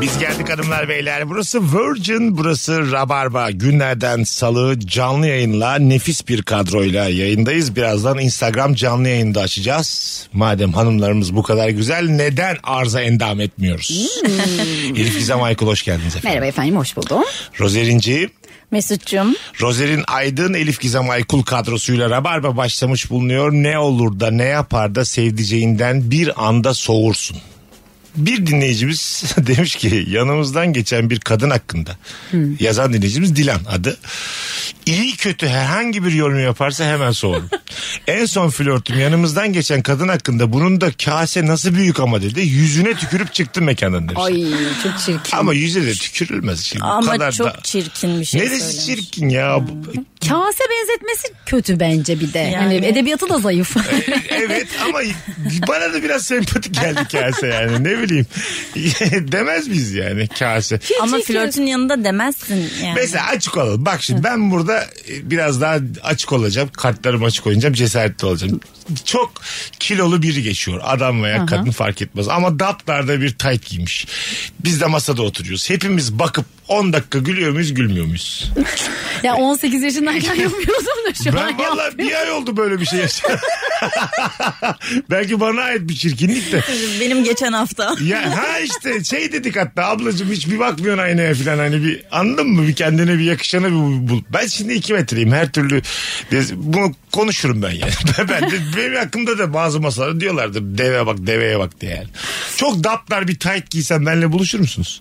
Biz geldik hanımlar beyler. Burası Virgin, burası Rabarba. Günlerden salı canlı yayınla nefis bir kadroyla yayındayız. Birazdan Instagram canlı yayında açacağız. Madem hanımlarımız bu kadar güzel neden arıza endam etmiyoruz? Elif Gizem Aykul hoş geldiniz efendim. Merhaba efendim hoş buldum. Rozerinci, Mesut'cum. Rozer'in Aydın, Elif Gizem Aykul kadrosuyla Rabarba başlamış bulunuyor. Ne olur da ne yapar da sevdiceğinden bir anda soğursun. Bir dinleyicimiz demiş ki yanımızdan geçen bir kadın hakkında Hmm. yazan dinleyicimiz Dilan adı. İyi kötü herhangi bir yorum yaparsa hemen soğurum. en son flörtüm yanımızdan geçen kadın hakkında bunun da kase nasıl büyük ama dedi. Yüzüne tükürüp çıktım mekandan demiş. Ay çok çirkin. Ama yüze de tükürülmez. Şimdi bu Ama kadar çok da... çirkin bir şey Neresi söylemiş. çirkin ya? Kase benzetmesi kötü bence bir de. Yani. Hani edebiyatı da zayıf. evet ama bana da biraz sempatik geldi kase yani ne bileyim. Demez miyiz yani kase? Ama flörtün yanında demezsin yani. Mesela açık olalım. Bak şimdi ben burada e, biraz daha açık olacağım. Kartlarımı açık oynayacağım. Cesaretli olacağım. Çok kilolu biri geçiyor. Adam veya kadın fark etmez. Ama daplarda bir tayt giymiş. Biz de masada oturuyoruz. Hepimiz bakıp 10 dakika gülüyor muyuz gülmüyor muyuz? ya 18 yaşındayken yapıyordum da şu an Ben ya. valla bir ay oldu böyle bir şey yaşadım. Belki bana ait bir çirkinlik de. Benim geçen hafta. Ya ha işte şey dedik hatta ablacığım hiç bir bakmıyorsun aynaya falan hani bir anladın mı bir kendine bir yakışanı bir bul. Ben şimdi iki metreyim her türlü biz- bunu konuşurum ben yani. Ben- ben de, benim hakkımda da bazı masalarda diyorlardı deve bak deveye bak diye yani. Çok daplar bir tight giysem benimle buluşur musunuz?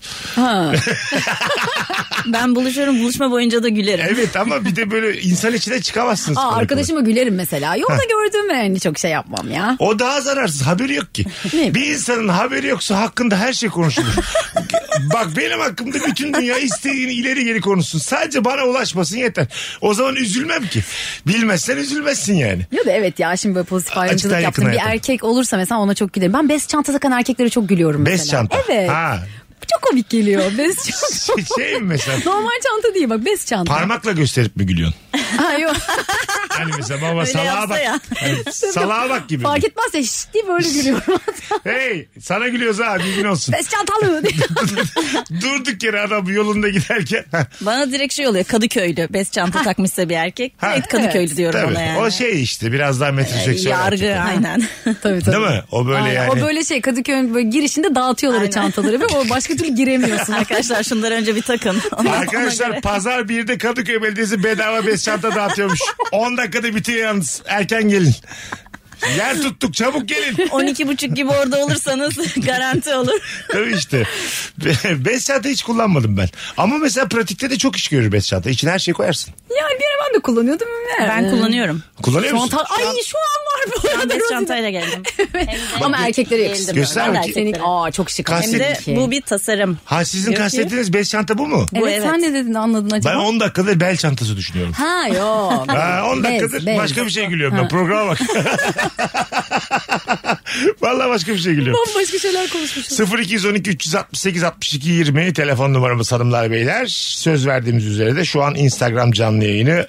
Ben buluşuyorum buluşma boyunca da gülerim. Evet ama bir de böyle insan içine çıkamazsınız. Aa, kolay kolay. arkadaşıma gülerim mesela. Yolda gördüğüm yani çok şey yapmam ya. O daha zararsız haberi yok ki. Ne? bir insanın haberi yoksa hakkında her şey konuşulur. Bak benim hakkımda bütün dünya istediğini ileri geri konuşsun. Sadece bana ulaşmasın yeter. O zaman üzülmem ki. Bilmezsen üzülmezsin yani. Ya da evet ya şimdi böyle pozitif ayrımcılık Açıktan yaptım. yakına Bir yakın. erkek olursa mesela ona çok gülerim. Ben bez çanta takan erkeklere çok gülüyorum mesela. Bez çanta. Evet. Ha. Çok komik geliyor bez çanta. Şey, şey mi mesela? Normal çanta değil bak bez çanta. Parmakla gösterip mi gülüyorsun? Ha, yok. Hani mesela baba Öyle salağa yapsa bak. ya. Hani salağa bak gibi. Fark etmez ya şşt diye böyle gülüyorum. Hey sana gülüyoruz ha bir gün olsun. bez çantalı diye. Durduk yere adam yolunda giderken. Bana direkt şey oluyor Kadıköylü. Bez çanta takmışsa bir erkek. Ha. Direkt Kadıköylü diyorum Tabii. ona yani. O şey işte biraz daha metroseksüel. Yargı erkek. aynen. tabii tabii. Değil mi? O böyle Ee, Aynen. yani. O böyle şey Kadıköy'ün böyle girişinde dağıtıyorlar o Aynen. çantaları ve o başka türlü giremiyorsun. Arkadaşlar şunları önce bir takın. Ona- ona Arkadaşlar göre. pazar 1'de Kadıköy Belediyesi bedava bez çanta dağıtıyormuş. 10 dakikada bitiyor yalnız. Erken gelin. Yer tuttuk çabuk gelin. 12.30 gibi orada olursanız garanti olur. Tabii işte. Be- Bez çanta hiç kullanmadım ben. Ama mesela pratikte de çok iş görür bez çanta. İçine her şeyi koyarsın. yani bir ara ben de kullanıyordum. Ben kullanıyorum. Kullanıyor Şu an musun? ta- Ay şu an var bu Ben arada. bez Rosie. çantayla geldim. Ama erkeklere Eldim. yakıştırıyorum. Göster Ben de bakayım. erkeklere. Senin aa çok şık. ama. Kas- Hem de Peki. bu bir tasarım. Ha sizin Diyor ki- kastettiğiniz bez çanta bu mu? Evet, evet. sen ne dedin anladın Ben acaba? 10 dakikadır bel çantası düşünüyorum. Ha yok. Ha, 10 Bez, dakikadır bez. başka bir şey gülüyorum ben. Programa bak. Vallahi başka bir şey gülüyorum. Bambaşka şeyler konuşmuşuz. 0212 368 62 20 telefon numaramız hanımlar beyler. Söz verdiğimiz üzere de şu an Instagram canlı yayını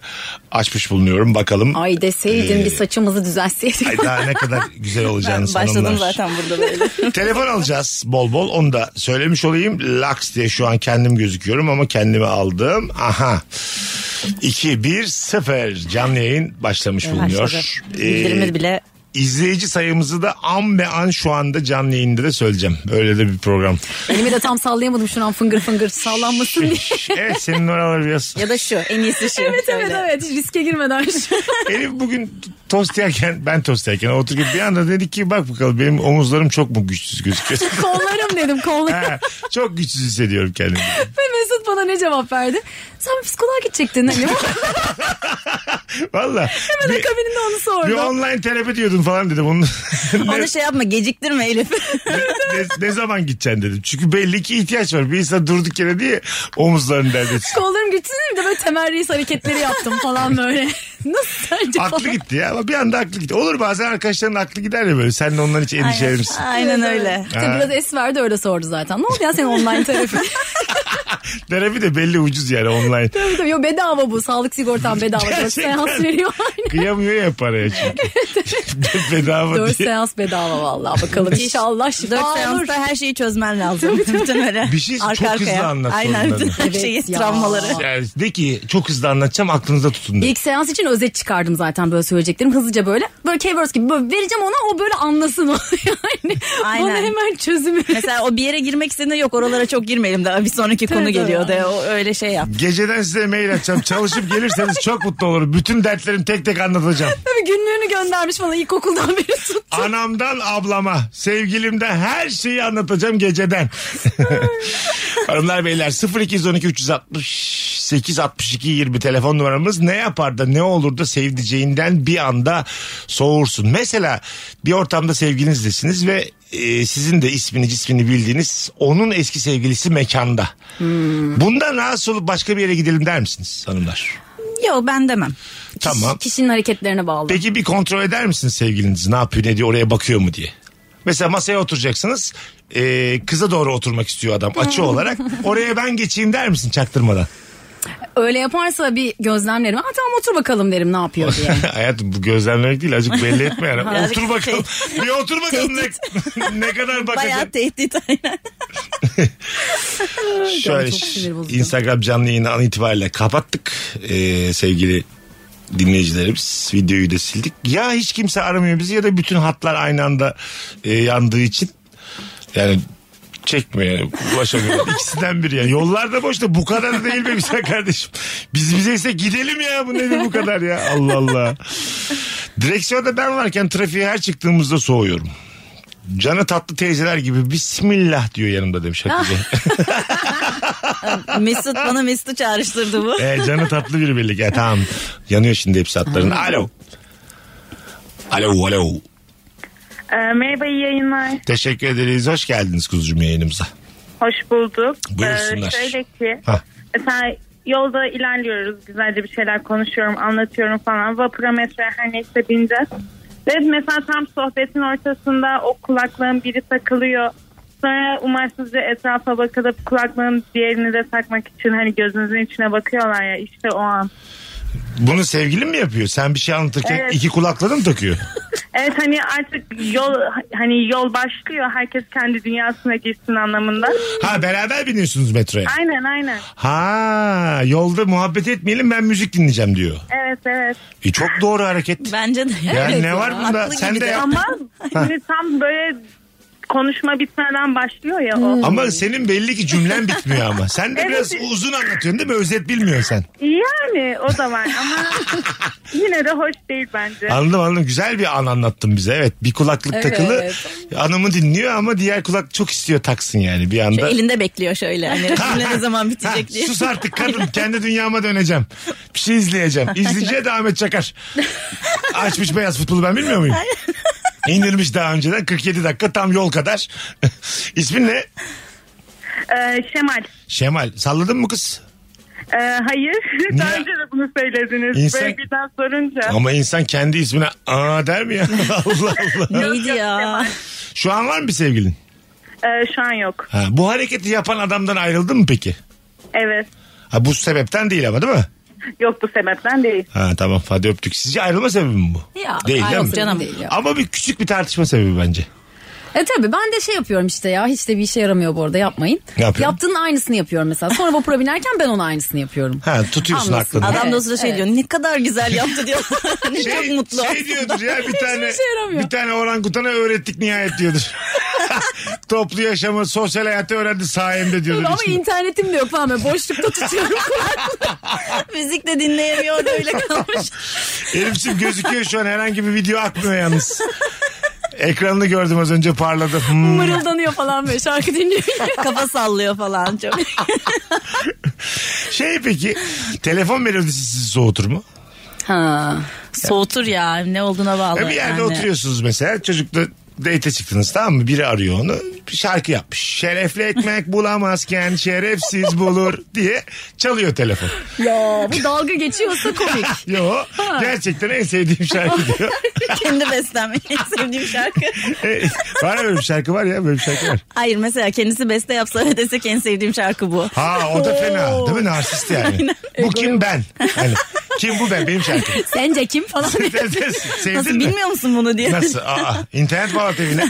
açmış bulunuyorum. Bakalım Ay deseydin bir saçımızı düzelseydik. ay daha ne kadar güzel Ben olacağını başladım hanımlar. zaten burada böyle. Telefon alacağız bol bol onu da söylemiş olayım. Laks diye şu an kendim gözüküyorum ama kendimi aldım. Aha. 2 1 0 canlı yayın başlamış Başladı. bulunuyor. Ee, Bildirimi bile İzleyici sayımızı da an be an şu anda canlı yayında da söyleyeceğim. Öyle de bir program. Elimi de tam sallayamadım şu an fıngır fıngır sallanmasın diye. evet senin oraları biraz ya da şu en iyisi şu. evet evet Öyle. evet hiç riske girmeden şu an. Elif bugün tost yerken ben tost yerken otururken bir anda dedi ki bak bakalım benim omuzlarım çok mu güçsüz gözüküyor. kollarım dedim kollarım. Ha, çok güçsüz hissediyorum kendimi. Ve Mesut bana ne cevap verdi? Sen bir psikoloğa gidecektin. Hani. Valla. Hemen Bir- akabininde onu Bir sordum. online terapi diyordun falan dedim. Onun ne, Onu şey yapma geciktirme Elif. ne- ne zaman gideceksin dedim. Çünkü belli ki ihtiyaç var. Bir insan durduk yere diye omuzlarını derdetsin. Kollarım gitsin dedim de böyle temel reis hareketleri yaptım falan böyle. Nasıl sence falan? Aklı gitti ya ama bir anda aklı gitti. Olur bazen arkadaşların aklı gider ya böyle. Sen de ondan hiç endişelenirsin. Aynen öyle. İşte biraz es verdi öyle sordu zaten. Ne oldu ya senin online terapi? Terapi de belli ucuz yani online. tabii tabii. Yo, bedava bu. Sağlık sigortam bedava. Dört Gerçekten. seans veriyor. Aynen. Kıyamıyor ya paraya çünkü. Bedava Dört diye. seans bedava vallahi bakalım. İnşallah Dört şifa olur. seansta her şeyi çözmen lazım. bütün öyle. Bir şey çok hızlı anlat Aynen bütün sorunları. her şeyi, Evet ya. travmaları. Yani de ki çok hızlı anlatacağım aklınızda tutun. de. İlk seans için özet çıkardım zaten böyle söyleyeceklerim hızlıca böyle. Böyle keywords gibi böyle vereceğim ona o böyle anlasın o yani. Bana Aynen. hemen çözümü. Mesela o bir yere girmek istediğinde yok oralara çok girmeyelim daha bir sonraki konu tabii. geliyor de o öyle şey yap. Geceden size mail atacağım. Çalışıp gelirseniz çok mutlu olurum. Bütün dertlerimi tek tek anlatacağım. Tabii günlüğünü göndermiş bana ilkokuldan beri tut. Anamdan ablama, sevgilimden her şeyi anlatacağım geceden. Hanımlar beyler 0212 368 62 20 telefon numaramız ne yapar da ne olur da sevdiceğinden bir anda soğursun. Mesela bir ortamda sevgilinsiniz ve e, sizin de ismini cismini bildiğiniz onun eski sevgilisi mekanda. Bundan rahatsız olup başka bir yere gidelim der misiniz hanımlar? Yok ben demem. Tamam. Kişinin hareketlerine bağlı. Peki bir kontrol eder misiniz sevgilinizi? Ne yapıyor ne diyor oraya bakıyor mu diye. Mesela masaya oturacaksınız. Ee, kıza doğru oturmak istiyor adam açı olarak. Oraya ben geçeyim der misin çaktırmadan? Öyle yaparsa bir gözlemlerim. Aa tamam otur bakalım derim ne yapıyor diye. Hayatım bu gözlemlemek değil azıcık belli etme yani. Birazcık otur bakalım. bir otur bakalım ne, ne kadar Bayağı bakacak. tehdit aynen. Şöyle Çok sinir bozucu. Instagram canlı yayını an itibariyle kapattık Ee, sevgili dinleyicilerimiz. Videoyu da sildik. Ya hiç kimse aramıyor bizi ya da bütün hatlar aynı anda e, yandığı için yani çekmiyor yani ulaşamıyor. İkisinden biri yani. Yollar da boş da bu kadar da değil be güzel kardeşim. Biz bize ise gidelim ya bu nedir bu kadar ya Allah Allah. Direksiyonda ben varken trafiğe her çıktığımızda soğuyorum. Canı tatlı teyzeler gibi bismillah diyor yanımda demiş Hatice. Mesut bana Mesut'u çağrıştırdı bu. E, canı tatlı biri birlik. E, tamam. Yanıyor şimdi hepsi hatların. Alo. Alo alo. Ee, merhaba iyi yayınlar. Teşekkür ederiz. Hoş geldiniz kuzucuğum yayınımıza. Hoş bulduk. Ee, Buyursunlar. şöyle ki Hah. mesela yolda ilerliyoruz. Güzelce bir şeyler konuşuyorum, anlatıyorum falan. Vapura metroya her neyse bineceğiz. Ve mesela tam sohbetin ortasında o kulaklığın biri takılıyor. Sonra umarsızca etrafa bakılıp kulaklığın diğerini de takmak için hani gözünüzün içine bakıyorlar ya işte o an. Bunu sevgilin mi yapıyor? Sen bir şey anlatırken Evet. iki kulaklığını mı takıyor? Evet hani artık yol hani yol başlıyor. Herkes kendi dünyasına girsin anlamında. Ha beraber biniyorsunuz metroya. Aynen aynen. Ha yolda muhabbet etmeyelim ben müzik dinleyeceğim diyor. Evet evet. E, çok doğru hareket. Bence de. Ya Evet ne var bunda? Haklı Sen gibi de yap. Ama şimdi tam böyle konuşma bitmeden başlıyor ya o. Ama senin belli ki cümlen bitmiyor ama. Sen de Evet. biraz uzun anlatıyorsun değil mi? Özet bilmiyorsun sen. Yani o da var ama yine de hoş değil bence. Anladım anladım. Güzel bir an anlattın bize. Evet bir kulaklık takılı. Anamı dinliyor ama diğer kulak çok istiyor taksın yani bir anda. Elinde bekliyor şöyle. Hani cümle ne zaman bitecek Ha, diye. Sus artık kadın kendi dünyama döneceğim. Bir şey izleyeceğim. İzleyeceğe de Ahmet Çakar. Açmış beyaz futbolu ben bilmiyor muyum? İndirmiş daha önceden 47 dakika tam yol kadar. İsmin ne? Ee, Şemal. Şemal. Salladın mı kız? ee, hayır. Daha Niye? önce de bunu söylediniz. İnsan- Böyle birden sorunca. Ama insan kendi ismine aa der mi ya? Allah Allah. Neydi ya? Şu an var mı bir sevgilin? Ee, şu an yok. Ha, bu hareketi yapan adamdan ayrıldın mı peki? Evet. Ha, bu sebepten değil ama değil mi? Yok bu sebepten değil. Ha tamam hadi öptük. Sizce ayrılma sebebi mi bu? Ya, değil değil ayrılma mi? sebebi değil ya. Ama bir küçük bir tartışma sebebi bence. E tabii ben de şey yapıyorum işte ya hiç de bir işe yaramıyor bu arada yapmayın. Ne yapıyorsun? Yaptığının aynısını yapıyorum mesela. Sonra vapura binerken ben onun aynısını yapıyorum. Ha tutuyorsun Anlasın. aklını. Adam- Adam da o sırada şey Evet. diyor ne kadar güzel yaptı diyor. ne çok mutlu. Şey diyordur ya bir tane işe şey yaramıyor. bir tane orangutana öğrettik nihayet diyordur. Toplu yaşamı, sosyal hayatı öğrendi sayemde diyordur. Ama İçinde. internetim de yok falan böyle boşlukta tutuyorum. Müzik de dinleyemiyor öyle kalmış. Elif'cim gözüküyor şu an herhangi bir video akmıyor yalnız. Ekranını gördüm az önce parladı. Hmm. Mırıldanıyor falan böyle şarkı dinliyor. Kafa sallıyor falan çok. Şey peki telefon melodisi sizi soğutur mu? ha. Soğutur ya ne olduğuna bağlı. Ya bir yerde yani. oturuyorsunuz mesela çocukla date çıktınız tamam mı? Biri arıyor onu bir şarkı yapmış. Şerefli ekmek bulamazken şerefsiz bulur diye çalıyor telefon. Ya bu dalga geçiyorsa komik. Yo gerçekten en sevdiğim şarkı diyor. Kendi beslenmeyi en sevdiğim şarkı. E, var ya böyle bir şarkı var ya böyle bir şarkı var. Hayır mesela kendisi beste yapsa ve desek en sevdiğim şarkı bu. Ha o da fena değil mi narsist yani. bu kim ben? Hani, kim bu ben benim şarkım. Sence kim falan diye. Sevdin Nasıl mi? bilmiyor musun bunu diye. Nasıl? Aa, internet bağlantı evine.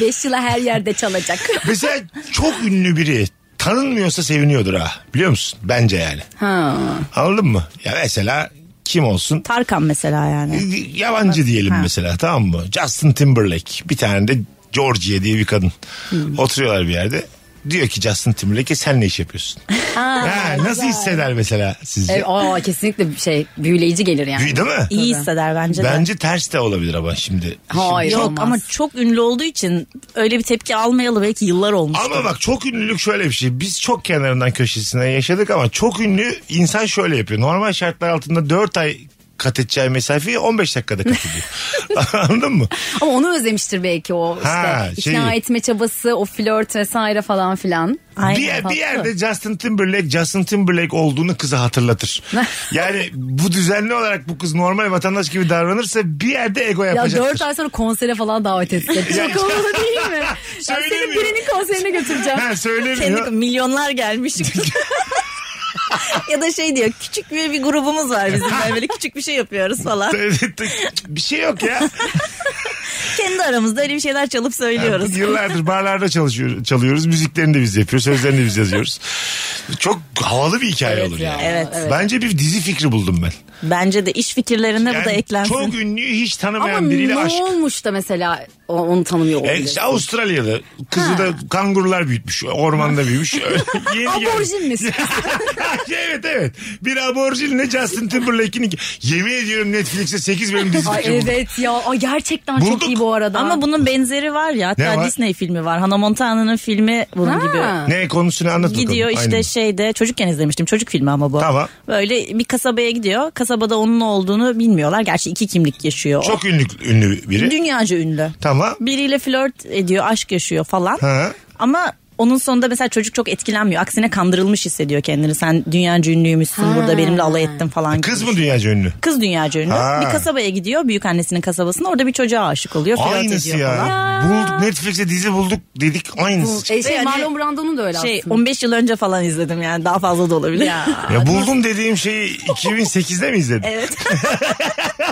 Beş yıla her yerde çalacak. Mesela çok ünlü biri tanınmıyorsa seviniyordur ha. Biliyor musun? Bence yani. Ha. Anladın mı? Ya mesela kim olsun? Tarkan mesela yani. Yabancı diyelim mesela tamam mı? Justin Timberlake. Bir tane de Georgia diye bir kadın. Hmm. Oturuyorlar bir yerde. Diyor ki Justin Timberlake'e sen ne iş yapıyorsun? ha, nasıl hisseder mesela sizce? E, aa, kesinlikle bir şey büyüleyici gelir yani. Değil mi? İyi hisseder bence de. Bence ters de olabilir ama şimdi. Hayır Yok olmaz. ama çok ünlü olduğu için öyle bir tepki almayalı belki yıllar olmuş. Ama bak çok ünlülük şöyle bir şey. Biz çok kenarından köşesinden yaşadık ama çok ünlü insan şöyle yapıyor. Normal şartlar altında 4 ay kat edeceği mesafeyi 15 dakikada kat ediyor. Anladın mı? Ama onu özlemiştir belki o işte. Ha, ikna şey. etme çabası, o flört vesaire falan filan. Aynen. bir, yer- bir tatlı. yerde Justin Timberlake Justin Timberlake olduğunu kıza hatırlatır. yani bu düzenli olarak bu kız normal vatandaş gibi davranırsa bir yerde ego Ya dört yapacaktır. ay sonra konsere falan davet etse. Çok havalı değil mi? Ben seni Söylemiyor. birinin konserine götüreceğim. Ha Kendi söylemiyor. milyonlar gelmiş. ya da şey diyor küçük bir, bir grubumuz var bizim böyle, böyle küçük bir şey yapıyoruz falan. bir şey yok ya. Kendi aramızda öyle bir şeyler çalıp söylüyoruz. Yıllardır barlarda çalışıyor, çalıyoruz. Müziklerini de biz yapıyoruz. Sözlerini de biz yazıyoruz. Çok havalı bir hikaye Evet olur ya, yani. evet. Bence bir dizi fikri buldum ben. Bence de iş fikirlerine bu da Yani eklensin. Çok ünlü hiç tanımayan Ama biriyle ne aşk. olmuş da mesela o- onu tanımıyor E, olabilir. işte Avustralyalı. Kızı da kangurular büyütmüş. Ormanda büyümüş. Öyle yeni gelmiş. Aborjin misin? evet evet. Bir aborjinle Justin Timberlake'in iki- Yemin ediyorum Netflix'te 8 bölüm dizi Ay fikri buldum. evet ya. Ay gerçekten Bulduk. çok iyi bu arada. Ama bunun benzeri var ya Ne hatta var? Disney filmi var. Hannah Montana'nın filmi bunun Ha. E, gibi. Ne konusunu anlat bakalım. Gidiyor işte Aynen. şey. şeyde çocukken izlemiştim çocuk filmi ama bu. Tamam. Böyle bir kasabaya gidiyor. Kasabada onun olduğunu bilmiyorlar. Gerçi iki kimlik yaşıyor. o. Çok ünlü, ünlü biri. Dünyaca ünlü. Tamam. Biriyle flört ediyor, aşk yaşıyor falan. Ha. Ama onun sonunda mesela çocuk çok etkilenmiyor. Aksine kandırılmış hissediyor kendini. Sen dünyaca ünlüymüşsün burada benimle alay ettin falan. gibi. E Kız mı dünyaca ünlü? Kız dünyaca ünlü. Ha. Bir kasabaya gidiyor. Büyükannesinin kasabasına. Orada bir çocuğa aşık oluyor. Flört Aynısı ediyor ya. falan. Bulduk Netflix'te dizi bulduk dedik aynısı. E, şey, Yani- Marlon Brando'nun da öyle Şey aslında. 15 yıl önce falan izledim yani. Daha fazla da olabilir. Ya buldum dediğim şeyi 2008'de mi izledin? Evet.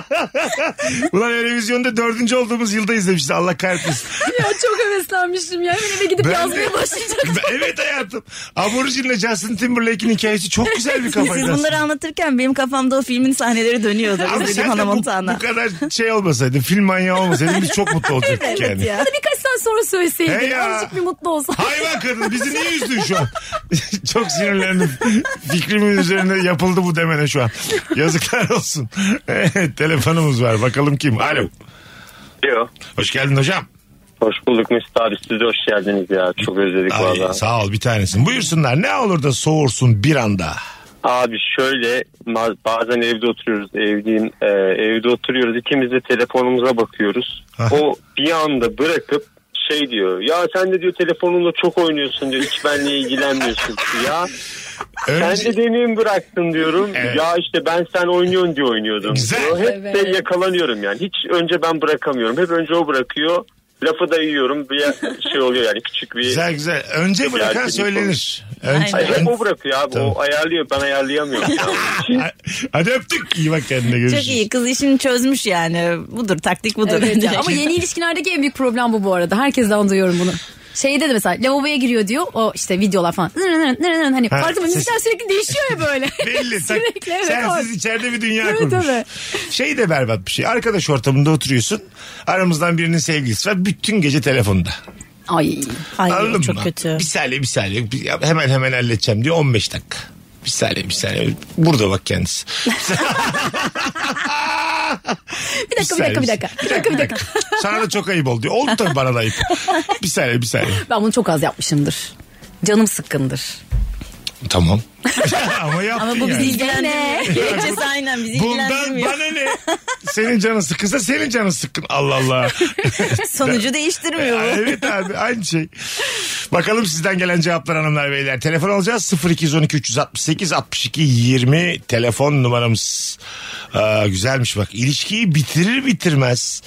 Ulan Eurovision'da dördüncü olduğumuz yılda izlemişiz Allah kahretmesin. ya çok heveslenmiştim ya. Hemen eve gidip Ben de- yazmaya başlayacak. evet hayatım. Aborjinle Justin Timberlake'in hikayesi çok güzel bir kafaydı Siz aslında. bunları anlatırken benim kafamda o filmin sahneleri dönüyordu. Ama İzlediğim sen de Hannah bu, Montana. bu kadar şey olmasaydı, film manyağı olmasaydın biz çok mutlu olacaktık yani. ya. Hadi birkaç saat sonra He söyleseydin. ya. Azıcık bir mutlu olsa. Hayvan kadın bizi niye üzdün şu an? Çok sinirlendim. Fikrimin üzerine yapıldı bu demene şu an. Yazıklar olsun. Evet, Telefonumuz var bakalım kim? Alo. Alo. Hoş geldin hocam. Hoş bulduk Mesut abi. Siz de hoş geldiniz ya. Çok özledik Ay, valla. sağ ol bir tanesin. Buyursunlar ne olur da soğursun bir anda. Abi şöyle ma- bazen evde oturuyoruz. Evdeyim. Ee, evde oturuyoruz. İkimiz de telefonumuza bakıyoruz. Aha. o bir anda bırakıp şey diyor. Ya sen de diyor telefonunla çok oynuyorsun diyor. Hiç benimle ilgilenmiyorsun. ya sen Önce- de deneyim bıraktın diyorum. şey- Evet. Ya işte ben sen oynuyorsun diye oynuyordum. Güzel. diyor. Hep de Evet. yakalanıyorum yani. Hiç önce ben bırakamıyorum. Hep önce o bırakıyor. Lafı da yiyorum. Bir şey oluyor yani küçük bir Güzel güzel. Önce bırakan Gerçekten. söylenir. Önce, Ay, hep ön- o bırakıyor abi. Tamam. O ayarlıyor. Ben ayarlayamıyorum. ya. Ha- Hadi öptük. İyi bak kendine görüşürüz. Çok iyi kız işini çözmüş yani. Budur taktik budur. Evet ya. ama yeni ilişkilerdeki en büyük problem bu bu arada. Herkesten duyuyorum bunu. Şeyde de mesela lavaboya giriyor diyor. O işte videolar falan. Nırı nırı nırı nırı. Hani Ha, farklı ses- müzikler sürekli değişiyor ya böyle. Belli. Tak- sürekli evet. sensiz o- içeride bir dünya Evet, kurmuş. evet. Şey de berbat bir şey. Arkadaş ortamında oturuyorsun. Aramızdan birinin sevgilisi var. Bütün gece telefonda. Ay. Ay, Anladın çok mı? kötü. Bir saniye bir saniye. Bir- hemen hemen halledeceğim diyor 15 dakika. Bir saniye bir saniye. Burada bak kendisi. Bir dakika bir dakika bir dakika. Bir dakika bir dakika. Sana da çok ayıp oldu. diyor. Oldu tabii bana da ayıp. bir saniye bir saniye. Ben bunu çok az yapmışımdır. Canım sıkkındır. Tamam. Ama yaptın Ama bu bizi yani. ilgilendirmiyor. Gerekçesi aynen bizi Bundan ilgilendirmiyor. bana ne? Senin canın sıkkınsa senin canın sıkkın. Allah Allah. Sonucu değiştirmiyor bu. evet abi aynı şey. Bakalım sizden gelen cevaplar hanımlar beyler. Telefon alacağız 0212 368 62 20 telefon numaramız. Aa, güzelmiş bak. İlişkiyi bitirir bitirmez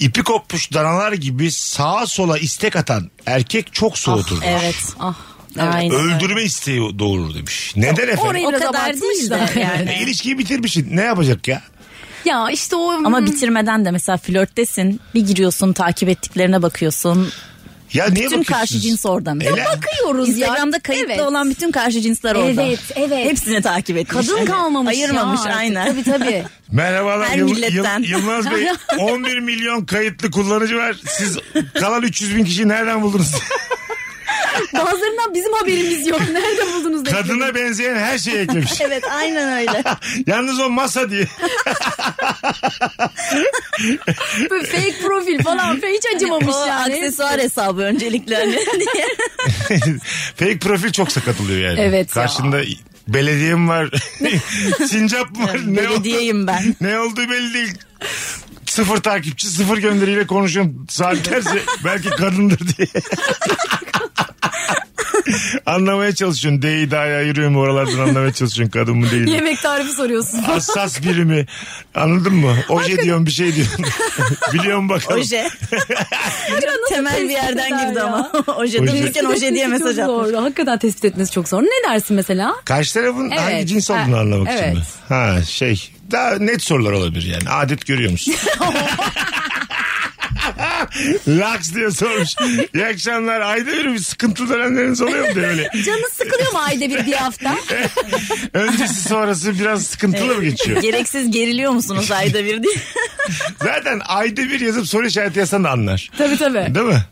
ipi kopmuş danalar gibi sağa sola istek atan erkek çok soğutur. demiş. Ah, Evet. Ah. Aynen. Öldürme isteği doğurur demiş. Neden efendim? Orayı O biraz kadar abartmış değil da. de yani. E, ilişkiyi bitirmişsin. Ne yapacak ya? ya işte o... Ama bitirmeden de mesela flörttesin. Bir giriyorsun takip ettiklerine bakıyorsun. Ya niye Bütün bakıyorsunuz? karşı cins oradan. Ele- Bakıyoruz ya. Instagram'da kayıtlı Evet. olan bütün karşı cinsler orada. Evet, evet. Hepsini takip etmiş. Kadın Evet. kalmamış Ayırmamış ya artık. aynen. Tabii tabii. Merhabalar Her Yıl- milletten. Yıl- Yılmaz Bey 11 milyon kayıtlı kullanıcı var. Siz kalan 300 bin kişiyi nereden buldunuz? Bazılarından bizim haberimiz yok. Nerede buldunuz? dedi. Kadına benzeyen her şeyi eklemiş. evet aynen öyle. Yalnız o masa diye. Böyle fake profil falan filan hiç acımamış o yani. aksesuar hesabı öncelikle hani diye. Fake profil çok sakat oluyor yani. Evet ya. Karşında belediyem var. Sincap var. ne, oldu, Belediyeyim ben. ne oldu belli değil. Sıfır takipçi sıfır gönderiyle konuşuyorum saatlerce belki kadındır diye. anlamaya çalışıyorsun. D'yi daya ayırıyorum oralardan anlamaya çalışıyorsun kadın mı değil mi? Yemek tarifi soruyorsun. Hassas birimi. Anladın mı? Oje diyorsun bir şey diyorsun. Biliyorum bakalım. Oje. Temel bir yerden eder girdi ya? ama. Oje Oje. demişken oje diye Tespit mesaj etmesi çok atmış. zor. Hakikaten tespit etmesi çok zor. Ne dersin mesela? Karşı tarafın Evet. hangi cins olduğunu Ha, anlamak için evet. mi? Ha şey. Daha net sorular olabilir yani. Adet görüyor musun? Laks diye sormuş. İyi akşamlar. Ayda bir bir sıkıntılı dönemleriniz oluyor mu diye öyle. Canı sıkılıyor mu ayda bir bir hafta? Öncesi sonrası biraz sıkıntılı mı geçiyor? Gereksiz geriliyor musunuz ayda bir diye. Zaten ayda bir yazıp soru işareti yazsan da anlar. tabii tabii. Değil mi?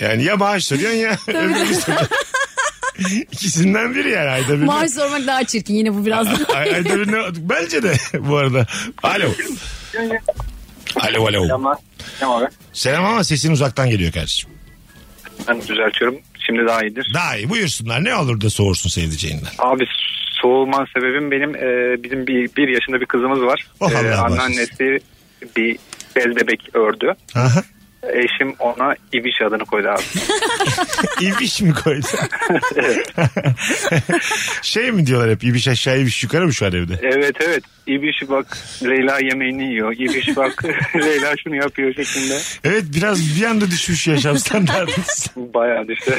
Yani ya maaş soruyorsun ya öbürünü soruyorsun. İkisinden biri yani ayda bir. Maaş sormak daha çirkin yine bu biraz daha. Ay, ayda bir ne- Bence de bu arada. Alo. Alo alo. Selamlar. Selam abi. Selam ama sesin uzaktan geliyor kardeşim. Ben düzeltiyorum. Şimdi daha iyidir. Daha iyi buyursunlar ne olur da soğursun sevdiceğinden. Abi soğuman sebebim benim e, bizim bir, bir yaşında bir kızımız var. Oh, Allah E, razı olsun. anneannesi bir bez bebek ördü. Aha. Eşim ona İbiş adını koydu abi. İbiş mi koydu? şey mi diyorlar hep ibiş aşağı ibiş yukarı mı şu an evde? evet evet. İbiş bak Leyla yemeğini yiyor. İbiş bak Leyla şunu yapıyor şeklinde. Evet biraz bir anda düşmüş yaşam standartınız. Bayağı düştü.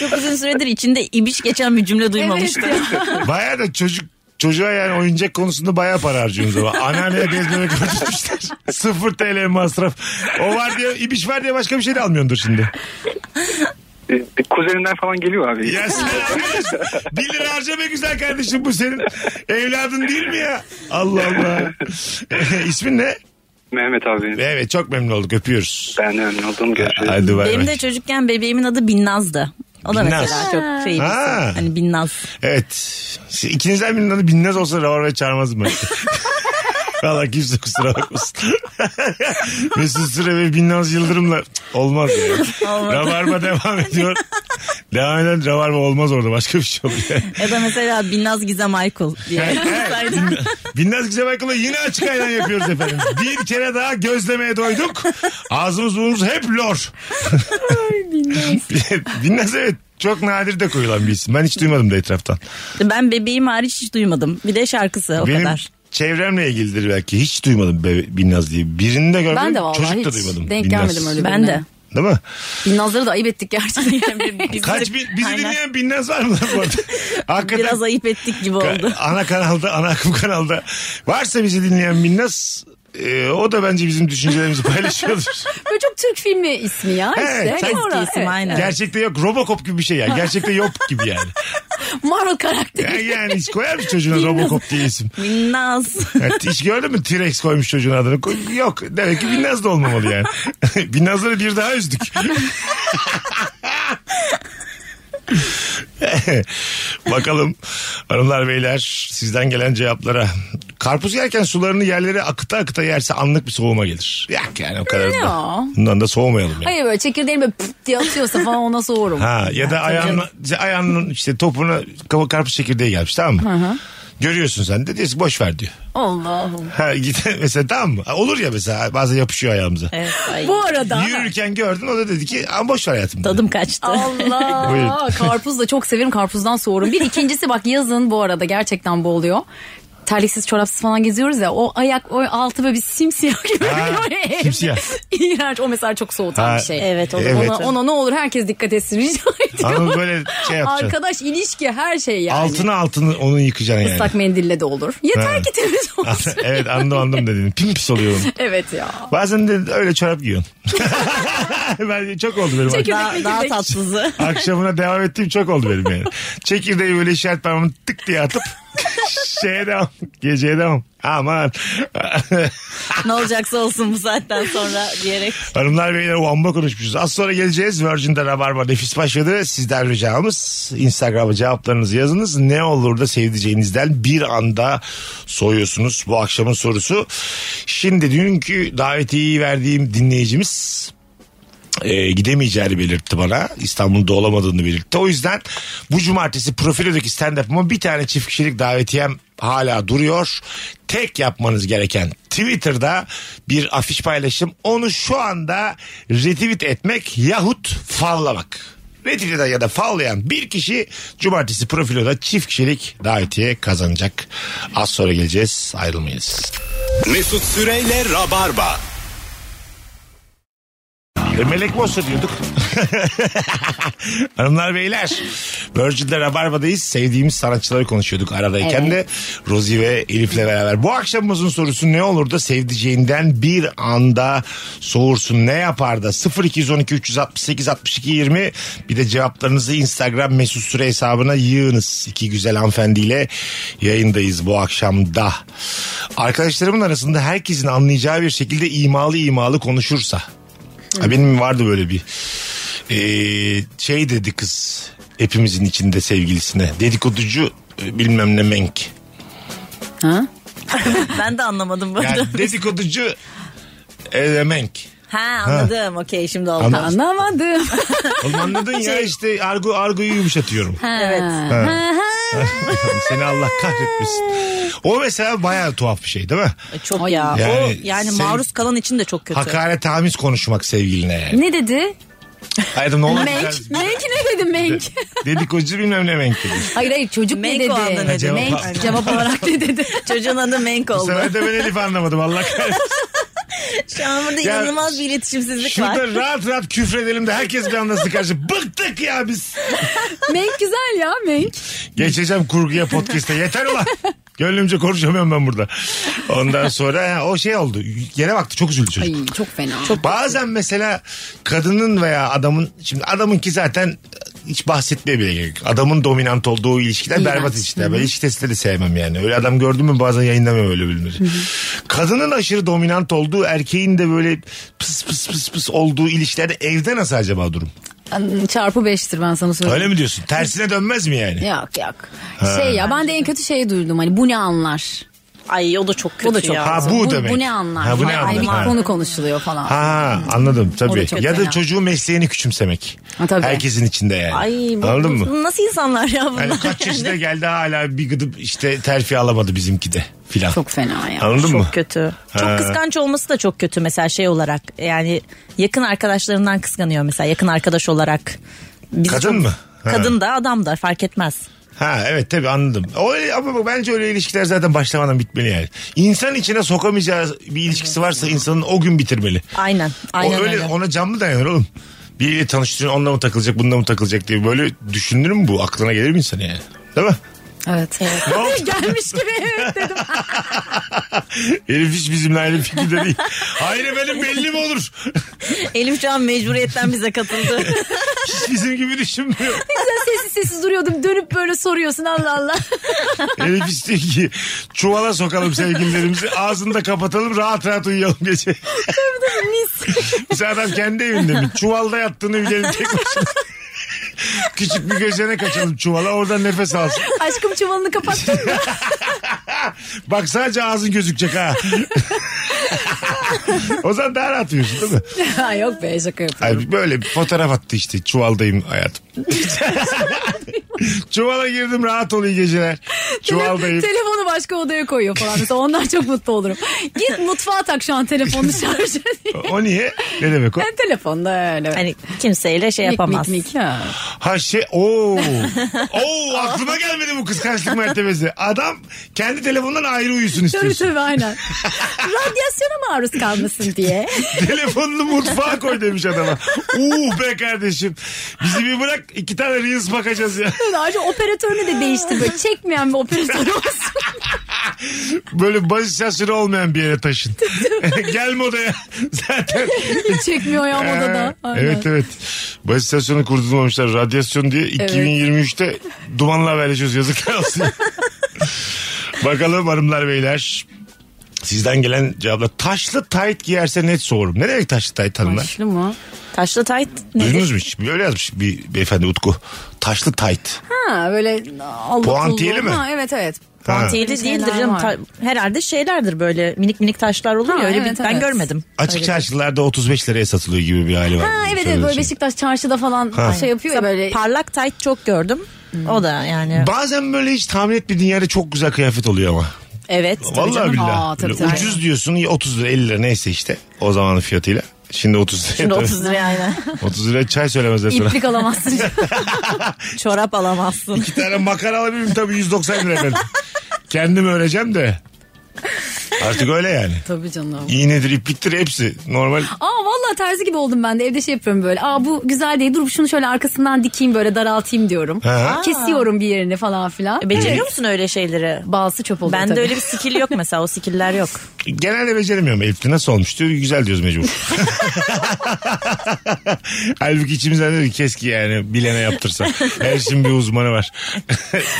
Çok uzun süredir içinde ibiş geçen bir cümle duymamıştım. Baya da çocuk Çocuğa yani oyuncak konusunda bayağı para harcıyorsunuz ama. Anneanneye bezmemek harcamışlar. Sıfır TL masraf. O var diye, ibiş var diye başka bir şey de almıyordur şimdi. E, Kuzenimden falan geliyor abi. Ya sen arkadaş 1 lira harca be güzel kardeşim bu senin evladın değil mi ya? Allah Allah. İsmin ne? Mehmet abi. Evet çok memnun olduk öpüyoruz. Ben de memnun oldum. Görüşürüz. Hadi bay Benim bay. de çocukken bebeğimin adı Binnaz'dı. O da Binnaz. mesela çok şey Ha. birisi. Hani Binnaz. Evet. Siz- İkinizden birinin adı Binnaz olsa Ravar ve Çağırmaz mı? Valla kimse kusura bakmasın. Mesut Süre ve Binnaz Yıldırım'la Cık, olmaz ya. Rabarba devam ediyor. Devam eden Rabarba olmaz orada başka bir şey oluyor. Ya da mesela Binnaz Gizem Aykul diye. Binnaz Güzel Baykal'ı yine açık ayran yapıyoruz efendim. Bir kere daha gözlemeye doyduk. Ağzımız burnumuz hep lor. Binnaz. evet çok nadir de koyulan bir isim. Ben hiç duymadım da etraftan. ben bebeğim hariç hiç duymadım. Bir de şarkısı o Benim kadar. çevremle ilgilidir belki. Hiç duymadım Be- Binnaz diye. Birini de görmedim. Ben de vallahi çocuk da hiç duymadım. denk Binnaz. gelmedim öyle Ben birine. de. Değil mi? Binnazları da ayıp ettik gerçekten. Bizi- Kaç bin, bizi Aynen. dinleyen Binnaz var mı lan bu arada? Hakikaten Biraz ayıp ettik gibi Ka- oldu. ana kanalda, ana akım kanalda. Varsa bizi dinleyen Binnaz e, o da bence bizim düşüncelerimizi paylaşıyordur. Böyle çok Türk filmi ismi ya işte. Evet, sen- Sonra, Eski isim evet. aynen. Gerçekte yok. Robocop gibi bir şey yani. Gerçekte yok gibi yani. Marvel karakteri. Yani, yani hiç koyar mı çocuğuna Robocop diye isim? Binnaz. Yani hiç gördün mü T-Rex koymuş çocuğun adını? Koy- Yok. Demek ki Binnaz da olmamalı yani. Binnaz'ları bir daha üzdük. Bakalım hanımlar beyler sizden gelen cevaplara Karpuz yerken sularını yerlere akıta akıta yerse anlık bir soğuma gelir. Yak yani o kadar da. Ya. Bundan da soğumayalım yani. Hayır böyle çekirdeğini böyle pıt diye atıyorsa falan ona soğurum. Ha ya da ayağının, ayağının işte topuna kava- karpuz çekirdeği gelmiş tamam mı? Görüyorsun sen de diyorsun boş ver diyor. Allah'ım. Ha git mesela tamam mı? Olur ya mesela bazen yapışıyor ayağımıza. Evet, ay. Bu arada Yürürken gördün o da dedi ki ama boş ver hayatım. dedi. Tadım kaçtı. Allah Buyurun. karpuz da çok severim karpuzdan soğurum. Bir ikincisi bak yazın bu arada gerçekten bu oluyor. Terliksiz çorapsız falan geziyoruz ya o ayak o altı böyle bir simsiyah gibi. Ha, böyle. simsiyah. İğrenç o mesela çok soğutan Ha, bir şey. Evet, olur. Evet. Ona, ona ne olur herkes dikkat etsin rica ediyorum. Hanım böyle şey yapacaksın. Arkadaş ilişki her şey yani. Altını altını onu yıkacaksın yani. Islak mendille de olur. Yeter Ha. ki temiz olsun. evet anladım anladım dediğini. Pim pis oluyorum. evet ya. Bazen de öyle çorap giyiyorsun. ben çok oldu benim. Çekirdek Daha, daha mekirdek. tatsızı. Akşamına devam ettiğim çok oldu benim yani. Çekirdeği böyle işaret parmağımı tık diye atıp şeye devam. Geceye devam. Aman. ne olacaksa olsun bu saatten sonra diyerek. Hanımlar beyler o amba konuşmuşuz. Az sonra geleceğiz. Virgin'de Rabarba nefis başladı. Sizden ricamız Instagram'a cevaplarınızı yazınız. Ne olur da sevdiceğinizden bir anda soyuyorsunuz bu akşamın sorusu. Şimdi dünkü davetiyi verdiğim dinleyicimiz e, gidemeyeceğini belirtti bana. İstanbul'da olamadığını belirtti. O yüzden bu cumartesi profilodaki stand-up'ıma bir tane çift kişilik davetiyem hala duruyor. Tek yapmanız gereken Twitter'da bir afiş paylaşım. Onu şu anda retweet etmek yahut favlamak. Retweet eden ya da favlayan bir kişi cumartesi profiloda çift kişilik davetiye kazanacak. Az sonra geleceğiz ayrılmayız. Mesut Süreyle Rabarba. E, melek Mossa diyorduk. Hanımlar beyler. Virgin'de Rabarba'dayız. Sevdiğimiz sanatçıları konuşuyorduk aradayken de. Rozi ve Elif'le beraber. Bu akşamımızın sorusu ne olur da sevdiceğinden bir anda soğursun. Ne yapar da 0212 368 62 20 bir de cevaplarınızı Instagram mesut süre hesabına yığınız. İki güzel hanımefendiyle yayındayız bu akşamda. Arkadaşlarımın arasında herkesin anlayacağı bir şekilde imalı imalı konuşursa. Ha, benim vardı böyle bir Ee, şey dedi kız hepimizin içinde sevgilisine dedikoducu e, bilmem ne menk. Ben de anlamadım burada. Yani dedikoducu e, menk. Ha anladım. Okey şimdi oldu. Anladım. Anlamadım. Oğlum anladın ya işte argo argoyu yumuşatıyorum. Evet. Seni Allah kahretmesin. O mesela bayağı tuhaf bir şey değil mi? Çok ya. Yani o yani sev- maruz kalan için de çok kötü. Hakaret tamiz konuşmak sevgiline yani. ne dedi? Hayatım ne olur Menk. güzel- şey. Menk ne dedi Menk? Dedikoducu bilmem ne menk dedi. Hayır hayır çocuk Menk ne dedi? o anda ne dedi? Menk Cevap- cevap olarak ne dedi? Çocuğun adı Menk Bu oldu. sefer de ben Elif anlamadım Allah kahretsin. Şu an burada Ya- inanılmaz bir iletişimsizlik var. Şurada rahat rahat küfredelim de herkes bir anda karşı. Bıktık ya biz. Menk güzel ya Menk. Geçeceğim kurguya podcast'e yeter ulan. Gönlümce konuşamıyorum ben burada. Ondan sonra ha, o şey oldu. Yere baktı çok üzüldü çocuk. Ay çok fena. Bazen mesela kadının veya adamın şimdi adamınki zaten hiç bahsetmeye bile gerek yok. Adamın dominant olduğu ilişkiler İğrenç. berbat ilişkiler. Ben ilişki testleri de sevmem yani. Öyle adam gördüm mü bazen yayınlamıyorum öyle bölümleri. Kadının aşırı dominant olduğu erkeğin de böyle pıs pıs pıs pıs olduğu ilişkilerde evde nasıl acaba durum? Çarpı beştir ben sana söyleyeyim. Öyle mi diyorsun? Tersine dönmez mi yani? Yok yok. Şey ya ben de en kötü şeyi duydum hani bu ne anlar? Ay o da çok kötü Bu da çok ya. Ha, bu demek. bu ne anlar? Ha, bu ne Hani anlar? bir Ha. konu konuşuluyor falan. Ha anladım O tabii. da çok Ya da fena. çocuğun mesleğini küçümsemek. Ha, tabii. Herkesin içinde yani. Ay bu, Anladın mı? bu- nasıl insanlar ya bunlar? Yani kaç yaşına geldi hala bir gıdıp işte terfi alamadı bizimki de filan. Çok fena ya. Anladın çok mı? kötü. Çok kıskanç olması da çok kötü mesela şey olarak. Yani yakın arkadaşlarından kıskanıyor mesela yakın arkadaş olarak. Bizi Kadın mı? Ha. Kadın da adam da fark etmez. Ha evet tabii anladım. O, ama bak, bence öyle ilişkiler zaten başlamadan bitmeli yani. İnsan içine sokamayacağı bir ilişkisi varsa insanın o gün bitirmeli. Aynen. Aynen o öyle, öyle. ona can mı dayanır oğlum? Biriyle tanıştırıyorsun onunla mı takılacak bununla mı takılacak diye böyle düşünür mü bu? Aklına gelir mi insan yani? Değil mi? Evet. Ne oldu? Gelmiş gibi evet dedim. Herif hiç bizimle aynı fikirde değil. Hayır benim belli mi olur? Elif Can mecburiyetten bize katıldı. Hiç bizim gibi düşünmüyor. Sen sessiz sessiz duruyordum dönüp böyle soruyorsun Allah Allah. Herif istiyor ki çuvala sokalım sevgililerimizi. Ağzını da kapatalım rahat rahat uyuyalım gece. Mesela adam kendi evinde mi? Çuvalda yattığını bilelim tek başına. Küçük bir gözene kaçalım çuvala oradan nefes alsın. Aşkım çuvalını kapattın mı? Bak sadece ağzın gözükecek ha. o zaman daha rahat uyursun değil mi? Ha, Yok be şaka yapıyorum. Ay, böyle bir fotoğraf attı işte. Çuvaldayım hayatım. Çuvala girdim rahat ol iyi geceler. Çuvaldayım. Telefonu başka odaya koyuyor falan. Mesela ondan çok mutlu olurum. Git mutfağa tak şu an telefonunu şarj diye. o niye? Ne demek o? Ben telefonda öyle. Hani kimseyle şey yapamaz. Mik, mik, mik, ha. Ha şey ooo. Oo aklıma gelmedi bu kıskançlık mertebesi. Adam kendi telefonundan ayrı uyusun Tabii istiyorsun. tabii aynen. Radyasyona maruz kalmasın diye. Telefonunu mutfağa koy demiş adama. Uh be kardeşim. Bizi bir bırak iki tane reels bakacağız ya. Ayrıca operatörünü de değiştir böyle. Çekmeyen bir operatör olsun. Böyle baş şaşırı olmayan bir yere taşın. Gelme odaya. Zaten Hiç çekmiyor ya odada. Ha, Aynen. Ee, Evet evet. Baz istasyonu kurdurmamışlar radyasyon diye. 2023'te dumanla haberleşiyoruz yazıklar olsun. Bakalım hanımlar beyler. Sizden gelen cevaplar. Taşlı tayt giyerse net soğurum. Ne demek taşlı tayt hanımlar? Başlı mı? Taşlı tayt nedir? Duydunuz mu hiç? Öyle yazmış bir beyefendi Utku. Taşlı tayt. Ha böyle Allah Puantiyeli mi? Ha, evet evet. Puantiyeli Öyle değildir şeyler canım. var. Ta- herhalde şeylerdir böyle minik minik taşlar olur Ha, ya öyle evet, bir, ben evet. görmedim. Açık çarşılarda 35 liraya satılıyor gibi bir hali var. Ha evet Şöyle evet böyle şey. Beşiktaş çarşıda falan şey Hmm. yapıyor ya Mesela böyle. Parlak tayt çok gördüm. O da şey- yani. Bazen böyle hiç tahmin etmediğin yerde çok güzel kıyafet oluyor ama. evet. tabii Vallahi canım. billahi. Aa, tabii Böyle tabii. ucuz diyorsun ya 30 lira 50 lira neyse işte o zamanın fiyatıyla. Şimdi 30 lira. Şimdi 30 liraya aynen. 30 liraya çay söylemezler sana. İplik alamazsın. Çorap alamazsın. Bir tane makara alabilirim tabii 190 lira ben. Kendim öreceğim de. Artık öyle yani. Tabii canım. İğnedir, ipliktir hepsi. Normal. Aa vallahi terzi gibi oldum ben de evde şey yapıyorum böyle. Aa bu güzel değil dur şunu şöyle arkasından dikeyim böyle daraltayım diyorum. Ha. Kesiyorum bir yerini falan filan. Beceriyor musun öyle şeyleri? E, Balsı çöp oluyor Bende tabii. öyle bir skill yok mesela o skiller yok. Genelde beceremiyorum. Elif'te nasıl olmuştu? Güzel diyoruz mecbur. Halbuki içimizden dedi keski yani bilene yaptırsa. Her işin bir uzmanı var.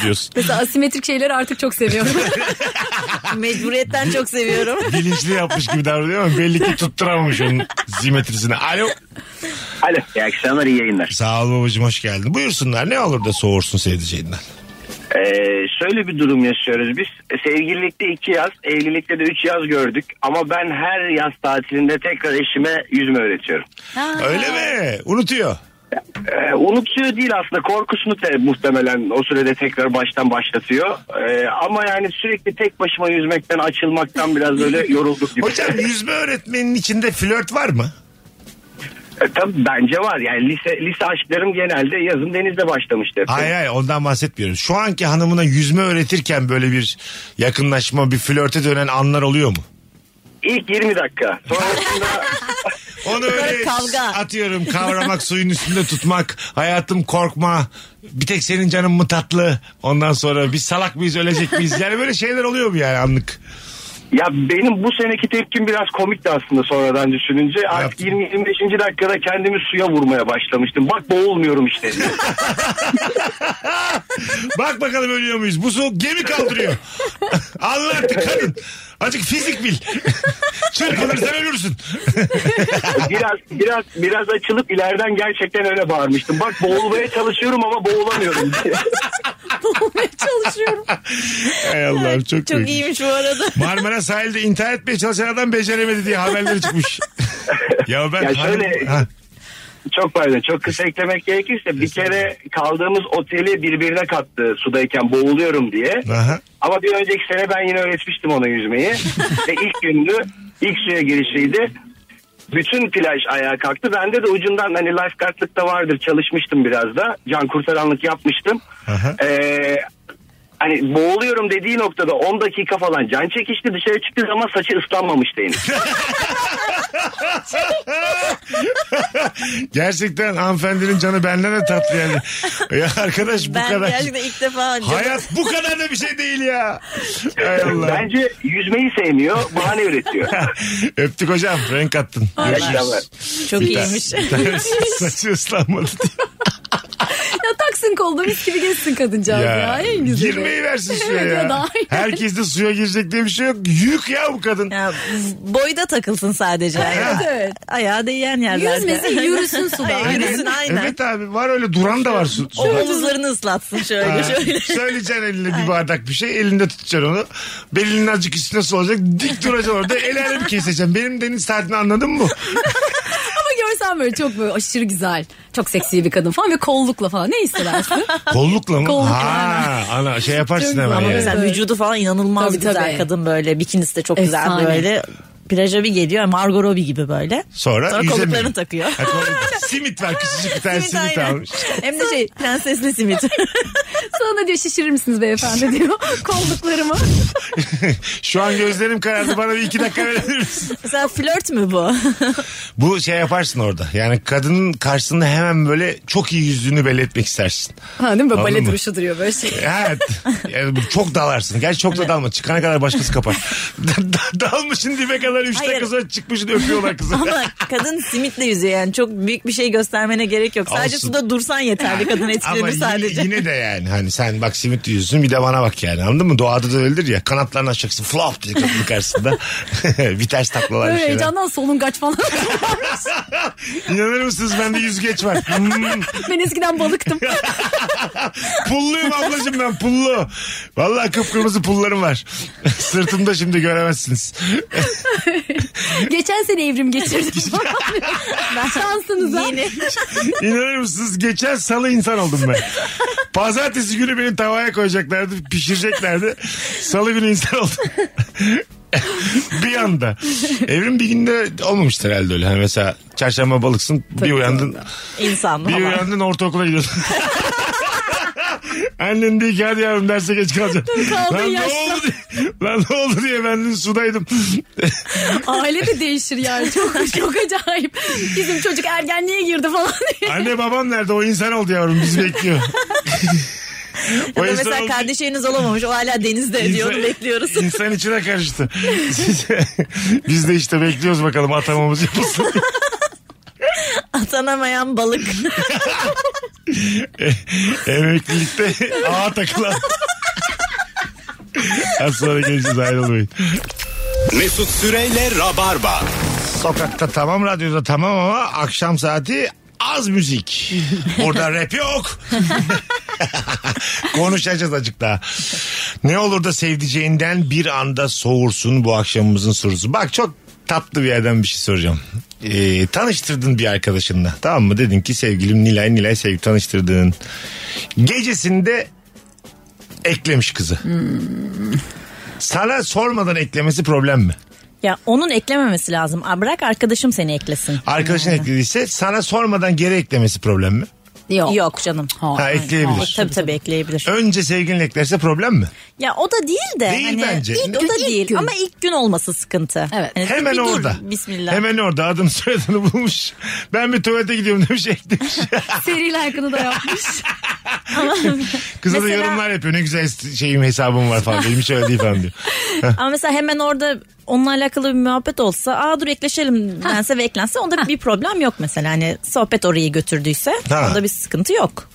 diyorsun. Mesela asimetrik şeyleri artık çok seviyorum. Mecburiyetten çok seviyorum. Bilinçli yapmış gibi davranıyor ama belli ki tutturamamış onun zimetrisini. Alo. Alo. İyi akşamlar iyi yayınlar. Sağ ol babacığım hoş geldin. Buyursunlar ne olur da soğursun sevdiceğinden. Ee, şöyle bir durum yaşıyoruz biz. Sevgililikte iki yaz, evlilikte de üç yaz gördük. Ama ben her yaz tatilinde tekrar eşime yüzme öğretiyorum. Öyle mi? Unutuyor. Ee, unutuyor değil aslında korkusunu te- muhtemelen o sürede tekrar baştan başlatıyor. Ee, ama yani sürekli tek başıma yüzmekten açılmaktan biraz böyle yorulduk gibi. Hocam yüzme öğretmeninin içinde flört var mı? Ee, tabii bence var yani lise, lise aşklarım genelde yazın denizde başlamıştı. Hayır hayır ondan bahsetmiyorum. Şu anki hanımına yüzme öğretirken böyle bir yakınlaşma, bir flörte dönen anlar oluyor mu? İlk 20 dakika. Sonrasında Onu öyle kavga. atıyorum kavramak, suyun üstünde tutmak, hayatım korkma, bir tek senin canın mı tatlı, ondan sonra biz salak mıyız, ölecek miyiz? Yani böyle şeyler oluyor mu yani anlık? Ya benim bu seneki tepkim biraz komikti aslında sonradan düşününce. Artık Yaptın. 20-25. dakikada kendimi suya vurmaya başlamıştım. Bak boğulmuyorum işte. Bak bakalım ölüyor muyuz? Bu soğuk gemi kaldırıyor. Allah artık kadın. Azıcık fizik bil. Çırpınırsan ölürsün. biraz biraz biraz açılıp ileriden gerçekten öyle bağırmıştım. Bak boğulmaya çalışıyorum ama boğulamıyorum diye. Olmaya çalışıyorum. Hay Allah'ım çok, Çok iyiymiş. iyiymiş bu arada. Marmara sahilde intihar etmeye çalışan adam beceremedi diye haberleri çıkmış. ya ben Ya şöyle- hanım- Ha, Çok pardon çok kısa eklemek gerekirse bir kere kaldığımız oteli birbirine kattı sudayken boğuluyorum diye. aha. Ama bir önceki sene ben yine öğretmiştim ona yüzmeyi. Ve ilk gündü, ilk suya girişiydi. Bütün plaj ayağa kalktı. Bende de ucundan hani lifeguardlık da vardır çalışmıştım biraz da. Can kurtaranlık yapmıştım. Aha. Ee, hani boğuluyorum dediği noktada 10 dakika falan can çekişti. Dışarı çıktığı zaman saçı ıslanmamıştı henüz. Gerçekten hanımefendinin canı benden de tatlı yani. Ya arkadaş bu ben kadar. gerçekten ilk defa canım- Hayat bu kadar da bir şey değil ya. Hay Allah. Bence yüzmeyi sevmiyor. Bahane üretiyor. Öptük hocam. Renk attın. akşamlar. Görüşürüz. çok Bir tane- iyiymiş. bir tanesi Saçı ıslanmadı diye. Ya taksın olduğu mis gibi gezsin kadıncağız ya. En güzeli. Girmeyi versin suya Evet, o ya. da aynen. Herkes de suya girecek diye bir şey yok. Yük ya bu kadın. Ya, boyda takılsın sadece. Evet, evet. Ayağı değen yerlerde. Yüzmesin yürüsün suda. Aynen. Aynen. Yürüsün aynen. Evet abi var öyle duran da var su. O omuzlarını ıslatsın şöyle Ha. şöyle. Söyleyeceksin eline bir bardak bir şey. Elinde tutacaksın onu. Belinin azıcık üstüne solacak. Dik duracaksın orada. El alem keseceksin. Benim deniz saatini anladın mı? Ama görsen böyle çok böyle aşırı güzel. Çok seksi bir kadın falan ve kollukla falan. Ne hissedersin? Kollukla mı? Kollukla, ha, ana şey yaparsın Çok hemen güzel. Ama yani. mesela Evet. vücudu falan inanılmaz Tabii, güzel tabii. kadın böyle. Bikinisi de çok Efsane. güzel böyle. Plaja bir geliyor Margot Robbie gibi böyle. Sonra Sonra yüzemiyor. kolluklarını takıyor. Ha, kolluk- simit var küçücük bir tane Simit, simit aynen. almış. Hem de şey prensesli simit. Sonra diyor şişirir misiniz beyefendi diyor. Kolluklarımı. Şu an gözlerim karardı bana bir iki dakika verebilir misin? Mesela flört mü bu? Bu şey yaparsın orada yani kadının karşısında hemen böyle çok iyi yüzünü belli etmek istersin. Ha değil mi? Böyle Anladın bale mı? duruşu duruyor böyle şey. Evet. Yani çok dalarsın. Gerçi çok da dalma. Çıkana kadar başkası kapar. Da- da- Dalmışın dibe kadar 3 Hayır. dakika sonra çıkmışın öpüyorlar kızı. Ama kadın simitle yüzüyor yani çok büyük bir şey göstermene gerek yok. Sadece Olsun. suda dursan yeterli kadın etkilenir Ama sadece. yine, yine de yani hani sen bak simit yüzsün bir de bana bak yani anladın mı? Doğada da öyledir ya kanatlarını açacaksın flop diye kapının karşısında. bir ters taklalar bir Böyle şeyler. heyecandan solungaç falan. İnanır mısınız bende yüzgeç var. Hmm. ben eskiden balıktım. Pulluyum ablacığım ben pullu. Vallahi kıpkırmızı pullarım var. Sırtımda şimdi göremezsiniz. Geçen sene evrim geçirdim. ben şansınıza. İnanır mısınız geçen salı insan oldum ben. Pazartesi günü beni tavaya koyacaklardı, pişireceklerdi. Salı günü insan oldum. bir anda. Evrim bir günde olmamıştır herhalde öyle. Hani mesela çarşamba balıksın, bir uyandın, İnsan bir falan. uyandın ortaokula gidiyorsun. Annen diyor ki hadi yavrum derse geç kalacaksın. kaldığın Lan ne, yaşta. oldu diye, lan ne oldu diye ben dün sudaydım. Aile de değişir yani. Çok çok acayip. Bizim çocuk ergenliğe girdi falan diye. Anne babam nerede o insan oldu yavrum bizi bekliyor. O Ya da insan mesela oldu. kardeşiniz olamamış o hala denizde İnsan- diyor onu bekliyoruz. İnsan içine karıştı. Biz de işte bekliyoruz bakalım atamamız yapılsın. Atanamayan balık. Emeklilikte ağa takılan. Az sonra geleceğiz ayrılmayın. Mesut Süreyle Rabarba. Sokakta tamam, radyoda tamam ama akşam saati az müzik. Burada rap yok. Konuşacağız azıcık daha. Ne olur da sevdiceğinden bir anda soğursun bu akşamımızın sorusu. Bak çok tatlı bir yerden bir şey soracağım. Ee, tanıştırdın bir arkadaşınla tamam mı? Dedin ki sevgilim Nilay Nilay sevgi tanıştırdın. Gecesinde eklemiş kızı. Sana sormadan eklemesi problem mi? ya onun eklememesi lazım. Aa, Bırak arkadaşım seni eklesin. Arkadaşın eklediyse sana sormadan geri eklemesi problem mi? Yok canım. Ha, ekleyebilir. Tabii tabii, ekleyebilir. Önce sevgilin eklerse problem mi? Ya o da değil de. Değil hani, bence. ilk- o gün, da ilk değil gün. ama ilk gün olması sıkıntı. Evet. Hani Hemen bir dur, orada. bismillah. Hemen orada adım soyadını bulmuş. Ben bir tuvalete gidiyorum demiş eklemiş. Seri like'ını da yapmış. Kıza da Mesela- yorumlar yapıyor. Ne güzel şeyim hesabım var falan. Benim hiç öyle değil falan diyor. Ama mesela hemen orada onunla alakalı bir muhabbet olsa aa dur ekleşelim dense ve eklense onda bir problem yok mesela. Hani sohbet orayı götürdüyse Ha. onda bir sıkıntı yok.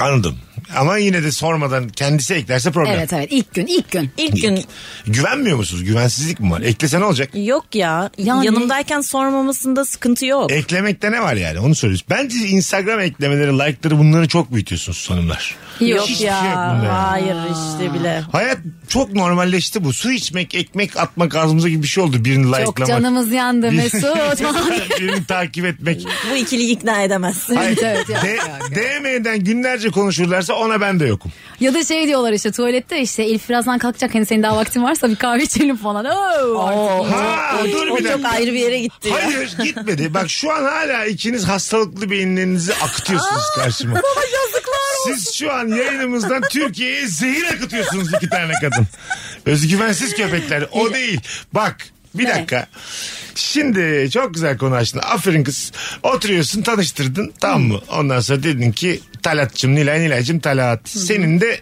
Anladım. Ama yine de sormadan kendisi eklerse problem. Evet evet ilk gün ilk gün. İlk gün Güvenmiyor musunuz? Güvensizlik mi var? Eklese ne olacak? yok ya Yani- yanımdayken sormamasında sıkıntı yok. E, Eklemekte ne var yani? Onu söylüyoruz. Bence Instagram eklemeleri, like'ları bunları çok büyütüyorsunuz hanımlar. Yok Hiçbir ya şey yok bunda yani. hayır işte bile. Hayat çok normalleşti bu. Su içmek, ekmek atmak ağzımıza gibi bir şey oldu. Birini likelamak. Çok canımız yandı Bir- Mesut. falan. Birini takip etmek. Bu ikiliyi ikna edemezsin. evet evet. yok, D- yok, yok. DM'den günlerce konuşurlarsa ona ben de yokum. Ya da şey diyorlar işte tuvalette işte Elif birazdan kalkacak hani senin daha vaktin varsa bir kahve içelim falan. Oo, artık. Ha, dur o bir çok dakika. ayrı bir yere gitti ya. Hayır gitmedi. Bak şu an hala ikiniz hastalıklı beyinlerinizi akıtıyorsunuz karşıma. Siz şu an yayınımızdan Türkiye'ye zehir akıtıyorsunuz iki tane kadın. Özgüvensiz köpekler. O değil. Bak bir dakika. Şimdi çok güzel konu açtın. Aferin kız. Oturuyorsun tanıştırdın tamam mı? Ondan sonra dedin ki Talat'cığım Nilay Nilay'cığım Talat. Senin de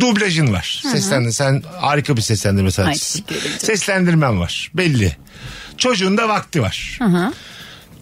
dublajın var. Seslendin. Sen harika bir seslendirme sanatçısın. teşekkür ederim canım. Seslendirmen var. Belli. Çocuğun da vakti var.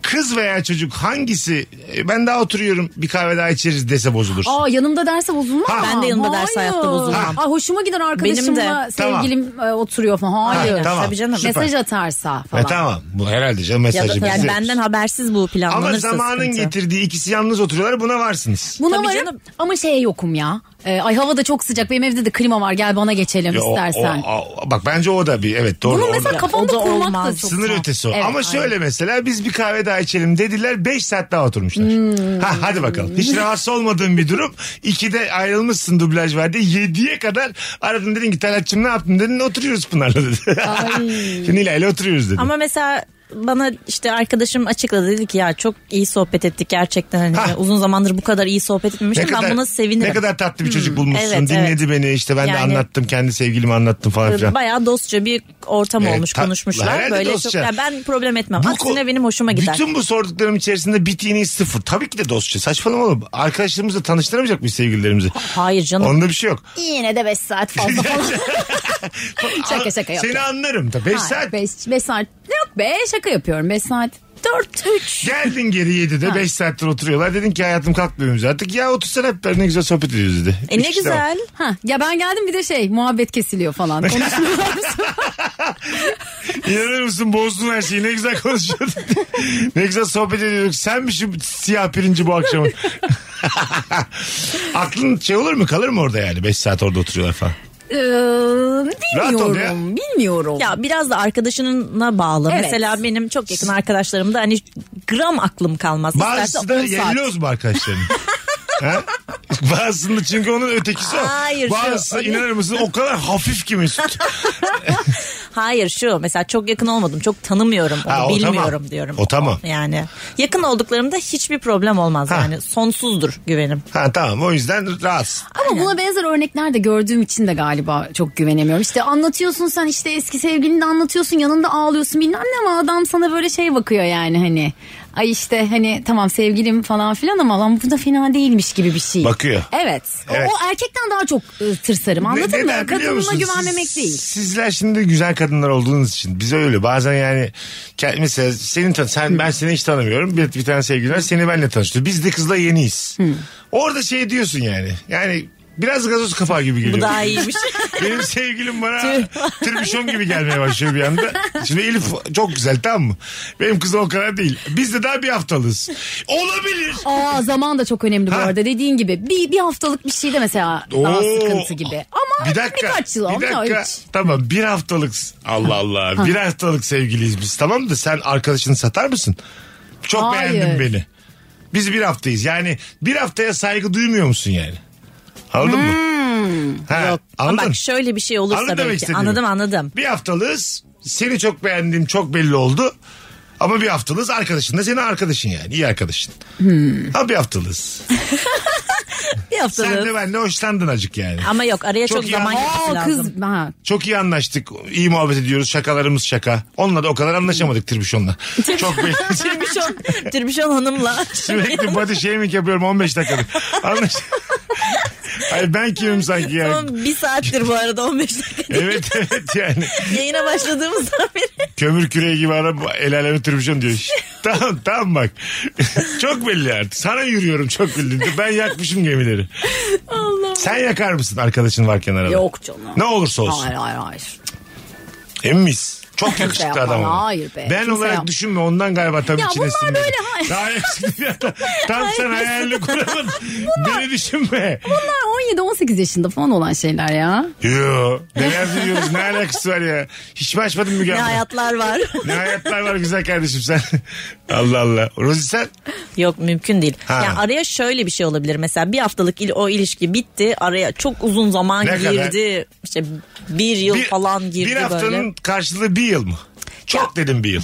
Kız veya çocuk hangisi e, ben daha oturuyorum bir kahve daha içeriz dese bozulursun. Aa yanımda derse bozulmaz. Ha. Ben de yanımda derse Hayır. hayatta bozulmam. Aa, hoşuma gider arkadaşımla Benim sevgilim e, oturuyor falan. Hayır. Ha, tamam. tabii canım. Süper. Mesaj atarsa E, falan. tamam bu herhalde canım Ya da, mesajı yani bize- benden habersiz bu planlanırsa Ama zamanın sıkıntı. getirdiği ikisi yalnız oturuyorlar buna varsınız. Buna Tabii varım canım. ama şeye yokum ya. E, ay hava da çok sıcak benim evde de klima var gel bana geçelim Ya, o- istersen. o- o- bak bence o da bir evet doğru. Bunu o mesela da- kafamda o da kurmak da olmaz. çok Sınır zor. ötesi o. Evet, Ama şöyle mesela biz bir kahve daha içelim dediler 5 saat daha oturmuşlar. Hmm. Ha, hadi bakalım. Hiç rahatsız olmadığın bir durum. 2'de ayrılmışsın dublaj verdi. 7'ye kadar aradın dedin ki Talat'cığım ne yaptın dedin oturuyoruz Pınar'la dedi. Şimdi ile oturuyoruz dedi. Ama mesela bana işte arkadaşım açıkladı dedi ki ya çok iyi sohbet ettik gerçekten hani Ha. uzun zamandır bu kadar iyi sohbet etmemiştim ben buna sevinirim. Hmm, ne kadar tatlı bir çocuk bulmuşsun. evet, Dinledi beni işte ben de Yani- Ee, anlattım. Kendi sevgilimi anlattım falan filan. Bayağı dostça bir ortam Evet, olmuş tatlı. konuşmuşlar. E, Herhalde Böyle çok dostça. ya ben problem etmem. Bu Aksine ko- benim hoşuma gider. Bütün bu sorduklarım içerisinde bit yeni sıfır. Tabii ki de dostça. Saçmalama oğlum. Arkadaşlarımızla tanıştıramayacak mıyız sevgililerimizi? Hayır canım. Onda bir şey yok. Yine de 5 saat fazla falan. Şaka şaka yok. Seni anlarım da. 5 saat 5 saat. Yok be şaka yapıyorum 5 saat. 4 3. Geldin geri 7'de 5 saattir oturuyorlar. Dedin ki hayatım kalkmıyoruz artık. Ya otursana hep beraber ne güzel sohbet ediyoruz dedi. E ne Üç kişi de var. güzel. Ha, ya ben geldim bir de şey muhabbet kesiliyor falan. Konuşmuyorlar. İnanır mısın bozdun her şeyi ne güzel konuşuyorduk. ne güzel sohbet ediyorduk. Sen mi şu siyah pirinci bu akşamın? Aklın şey olur mu kalır mı orada yani 5 saat orada oturuyorlar falan. Ee, Rahat ol ya. bilmiyorum. Bilmiyorum. Ya biraz da arkadaşınına bağlı. Evet. Mesela benim çok yakın arkadaşlarımda hani gram aklım kalmaz. Bazısı İsterse da on saat. yeniliyoruz mu arkadaşların? Ha? Bazısında çünkü onun ötekisi o. Hayır, şu- Bazısı inanır mısın o kadar hafif ki Mesut. Hayır şu mesela çok yakın olmadım çok tanımıyorum onu Ha, o bilmiyorum tamam. diyorum. O tamam. Yani yakın olduklarımda hiçbir problem olmaz Ha. yani sonsuzdur güvenim. Ha tamam o yüzden rahatsız. Ama buna benzer örnekler de gördüğüm için de galiba çok güvenemiyorum. İşte anlatıyorsun sen işte eski sevgilini de anlatıyorsun yanında ağlıyorsun bilmem ne ama adam sana böyle şey bakıyor yani hani. Ay işte hani tamam sevgilim falan filan ama lan bu da fena değilmiş gibi bir şey. Bakıyor. Evet. O- Evet. O, erkekten daha çok e, tırsarım anladın Ne- neden mı? biliyor Kadınına musun? güvenmemek Siz- değil. Sizler şimdi güzel kadınlar olduğunuz için bize öyle bazen yani ke- mesela senin tan- sen ben seni hiç tanımıyorum. Bir, bir tane sevgilin var seni benle tanıştı. Biz de kızla yeniyiz. Orada şey diyorsun yani. Yani biraz gazoz kapağı gibi geliyor. Bu daha iyiymiş. Benim sevgilim bana tribüşon gibi gelmeye başlıyor bir anda. Şimdi Elif çok güzel tamam mı? Benim kız o kadar değil. Biz de daha bir haftalıyız. Olabilir. Aa zaman da çok önemli bu Ha. arada dediğin gibi. Bir, bir haftalık bir şey de mesela daha Oo. sıkıntı gibi. Ama bir dakika, birkaç yıl bir ama dakika. hiç. Tamam bir haftalık Allah Allah bir haftalık sevgiliyiz biz tamam da sen arkadaşını satar mısın? Çok Hayır. beğendin beni. Biz bir haftayız yani bir haftaya saygı duymuyor musun yani? Anladın mı? Ha, Yok. Ama Anladın? bak şöyle bir şey olursa Anladın demek belki. istediğimi. Anladım anladım. Bir haftalığız seni çok beğendim çok belli oldu. Ama bir haftalığız arkadaşın da senin arkadaşın yani iyi arkadaşın. Ha bir haftalığız. Bir Sen haftalık. de ben de hoşlandın acık yani. Ama yok araya Çok çok, iyi zaman anladım. Aa, geçmesi lazım. kız ha, Çok iyi anlaştık. iyi muhabbet ediyoruz. Şakalarımız şaka. Onunla da o kadar anlaşamadık Tribüşon'la. Çok belli. Tirbişon, Tirbişon hanımla. Sürekli body shaming yapıyorum 15 dakikadır. Anlaş. Hayır ben kimim sanki yani. Tamam bir saattir bu arada 15 dakika. Evet evet yani. Yayına başladığımızdan beri. Kömür küreği gibi ara el aleme tribüşon diyor. Şşt, tamam tamam bak. çok belli artık. Sana yürüyorum çok belli. Ben yakmışım gemileri. Allah. Sen yakar mısın arkadaşın varken arada? Yok canım. Ne olursa olsun. Hayır hayır hayır. Emin miyiz? Çok yakışıklı yapma, adam ama. hayır be, Ben kimse olarak yapma. düşünme ondan galiba tam Ya içine bunlar sinmedi. böyle, hayır. Daha yakışıklı bir adam. Tam sen hayalini kuramadın. Beni düşünme. Bunlar 17-18 yaşında falan olan şeyler ya. Yo. Neler duyuyoruz ne alakası var ya. Hiç mi açmadın Müge Ne abla? hayatlar var. Ne hayatlar var güzel kardeşim sen. Allah Allah. Rozi sen? Yok mümkün değil. Ha. Yani araya şöyle bir şey olabilir. Mesela bir haftalık il, o ilişki bitti. Araya çok uzun zaman Ne kadar? girdi. İşte bir yıl falan girdi Bir haftanın böyle. karşılığı bir yıl mı? Çok dedim bir yıl.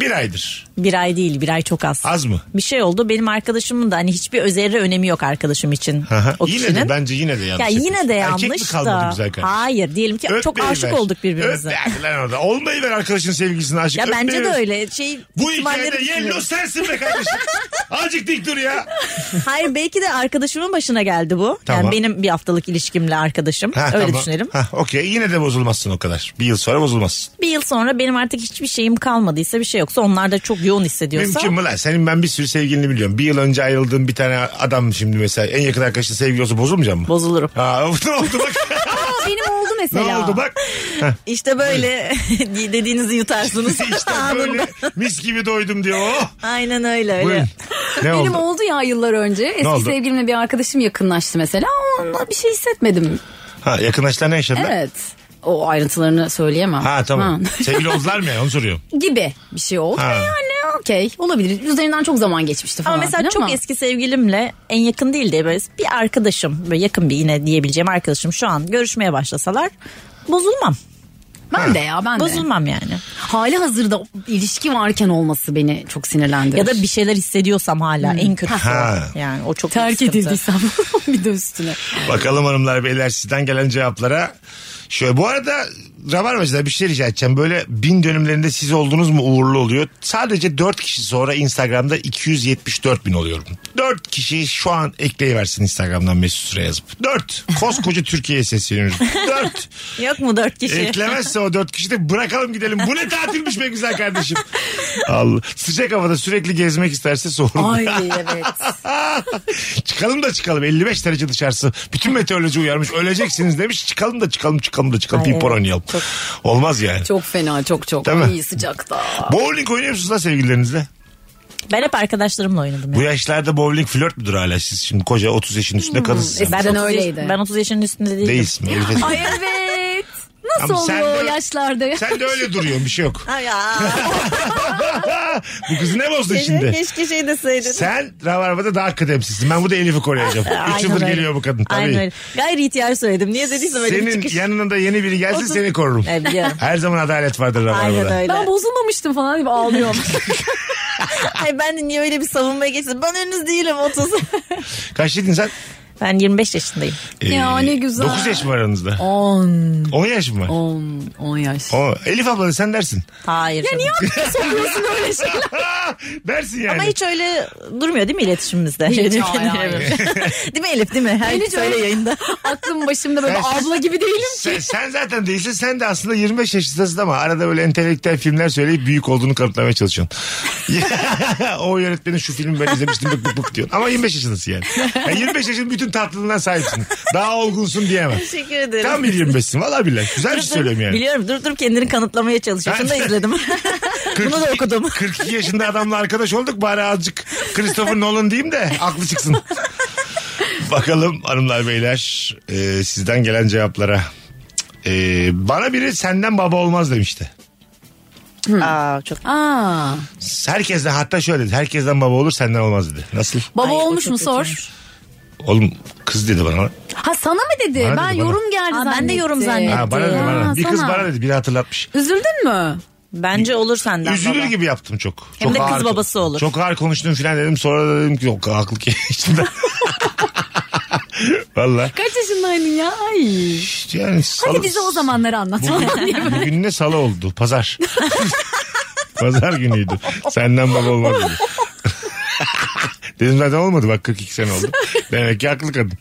Bir aydır. Bir ay değil bir ay çok az. Az mı? Bir şey oldu benim arkadaşımın da hani hiçbir özerre önemi yok arkadaşım için. Aha. o yine kişinin. de bence yine de yanlış. ya yine de yapıyorsun. yanlış Erkek mi kalmadı da. güzel kardeşim? Hayır diyelim ki çok Öpmeyiver. aşık olduk birbirimize. Öp- lan orada. Olmayı ver arkadaşın sevgilisine aşık. Ya bence de Öpmeyiver. öyle. Şey Bu ihtimalleri hikayede yello düşünüyorum. sensin be kardeşim. Azıcık dik dur ya. Hayır belki de arkadaşımın başına geldi bu. Tamam. Yani benim bir haftalık ilişkimle arkadaşım. Ha, Öyle tamam. düşünelim. Ha, Okey yine de bozulmazsın o kadar. Bir yıl sonra bozulmazsın. Bir yıl sonra benim artık hiçbir şeyim kalmadıysa bir şey yoksa onlar da çok yoğun hissediyorsa. Mümkün mü lan? Senin ben bir sürü sevgilini biliyorum. Bir yıl önce ayrıldığım bir tane adam şimdi mesela en yakın arkadaşın sevgili olsa bozulmayacak mı? Bozulurum. Ha, ne oldu bak? Aa, benim oldu ne mesela. oldu bak? İşte böyle dediğinizi yutarsınız. işte Anında. böyle mis gibi doydum diyor. Oh, Aynen öyle öyle. buyurun. Ne Benim oldu? oldu ya yıllar önce. Eski oldu? sevgilimle bir arkadaşım yakınlaştı mesela. Onunla bir şey hissetmedim. Ha, yakınlaştılar ne yaşadılar? Evet. O ayrıntılarını söyleyemem. Ha tamam. Ha. Sevgili oldular mı ya onu soruyorum. Gibi bir şey oldu. Ha. Yani okey olabilir. Üzerinden çok zaman geçmişti falan. Ama mesela filan çok ama. eski sevgilimle en yakın değil de böyle bir arkadaşım böyle yakın bir yine diyebileceğim arkadaşım şu an görüşmeye başlasalar bozulmam. Ben de ya ben de. Bozulmam yani. Hali hazırda ilişki varken olması beni çok sinirlendirir. Ya da bir şeyler hissediyorsam hala en kötüsü. o. Ha. Yani o çok Hmm. terk büyük sıkıntı. edildiysem bir de üstüne. Bakalım hanımlar beyler sizden gelen cevaplara. Şöyle bu arada Rabarbacılar bir şey rica edeceğim. Böyle bin dönümlerinde siz oldunuz mu uğurlu oluyor. Sadece 4 kişi sonra Instagram'da 274 bin oluyorum. 4 kişi şu an ekleyiversin Instagram'dan Mesut Süre yazıp. 4. Koskoca Türkiye'ye sesleniyoruz. 4. Yok mu dört kişi? Eklemezse o dört kişi de bırakalım gidelim. Bu ne tatilmiş be güzel kardeşim. Allah. Sıcak havada sürekli gezmek isterse sorun. Ay evet. çıkalım da çıkalım. 55 derece dışarısı. Bütün meteoroloji uyarmış. Öleceksiniz demiş. Çıkalım da çıkalım çıkalım da çıkalım. Ay, Pimpon evet. oynayalım. Olmaz yani. Çok fena çok çok. Değil mi? İyi sıcakta. Bowling oynuyor musunuz lan sevgililerinizle? Ben hep arkadaşlarımla oynadım. Bu Yani. yaşlarda bowling flört müdür hala siz? Şimdi koca 30 yaşın üstünde kadınsın. eskiden Hmm, e, Ben 30 öyleydi. Yaş, ben 30 yaşının üstünde değilim. Değilsin. öyle değil. Ay evet. Nasıl Ama sen oluyor o de- yaşlarda? ya? Sen de öyle duruyorsun bir şey yok. Ay ya. Bu kızı ne bozdun Keşke- şimdi? Keşke şey deseydin. Sen Rabarba'da daha kıdemsizsin. Ben burada Elif'i koruyacağım. Aynen 3-0 öyle. geliyor bu kadın. Tabii. Aynen öyle. Gayri ihtiyar söyledim. Niye dediysem öyle bir Senin çıkış. yanına da yeni biri gelse Otuz- seni korurum. Evet, biliyorum. Her zaman adalet vardır Aynen Rabarba'da. öyle. Ben bozulmamıştım falan gibi ağlıyorum. Ay ben de niye öyle bir savunmaya geçtim? Ben henüz değilim 30. Kaç dedin sen? ben 25 yaşındayım. Ya ne güzel. 9 Ee, yaş mı var aranızda? 10. 10 yaş mı var? 10. 10 yaş. O, Elif abla da sen dersin. Hayır. canım. Sokuyorsun öyle şey. dersin yani. Ama hiç öyle durmuyor değil mi iletişimimizde? Hiç, Değil mi? hayır, hayır. değil mi Elif değil mi? Her Ben gün hiç öyle söyle yayında. yayında. Aklım başımda böyle Ben- abla gibi değilim ki. sen, sen zaten değilsin. Sen de aslında 25 yaşındasın ama arada böyle entelektüel filmler söyleyip büyük olduğunu kanıtlamaya çalışıyorsun. o yönetmenin şu filmi ben izlemiştim bık bık bık diyorsun. Ama 25 yaşındasın yani. yani 25 yaşın bütün tatlılığına sahipsin. Daha olgunsun diyemem. Teşekkür ederim. Tam bir 25'sin valla billahi. Güzel bir şey söylüyorum yani. Biliyorum durup durup kendini kanıtlamaya çalışıyorsun da Ben- izledim. Bunu da okudum. 42 yaşında adamla arkadaş olduk bari azıcık Christopher Nolan diyeyim de aklı çıksın. Bakalım hanımlar beyler e, sizden gelen cevaplara. E, bana biri senden baba olmaz demişti. Aa, çok Aa, Herkesten hatta şöyle dedi. Herkesten baba olur senden olmaz dedi. Nasıl? baba Ay, o olmuş çok mu sor. kötüymüş. Oğlum kız dedi bana. Ha sana mı dedi? Bana dedi, ben bana. yorum geldi Aa, ben de zannettim. yorum zannettim. Ha, bana dedi Ha, bana. Bir kız sana. bana dedi biri hatırlatmış. Üzüldün mü? bence olur senden Üzülür baba. gibi yaptım çok. Hem çok de kız ağır- babası olur. Çok ağır konuştum filan dedim. Sonra da dedim ki yok haklı ki. İçimden. Valla. Kaç yaşındaydın ya? Ay. Yani Hadi salı- bize o zamanları anlat. Bugün, bugün ne salı oldu? Pazar. Pazar günüydü. Senden baba olmaz dedi. Dedim zaten olmadı bak 42 sene oldu. Demek ki haklı kadın.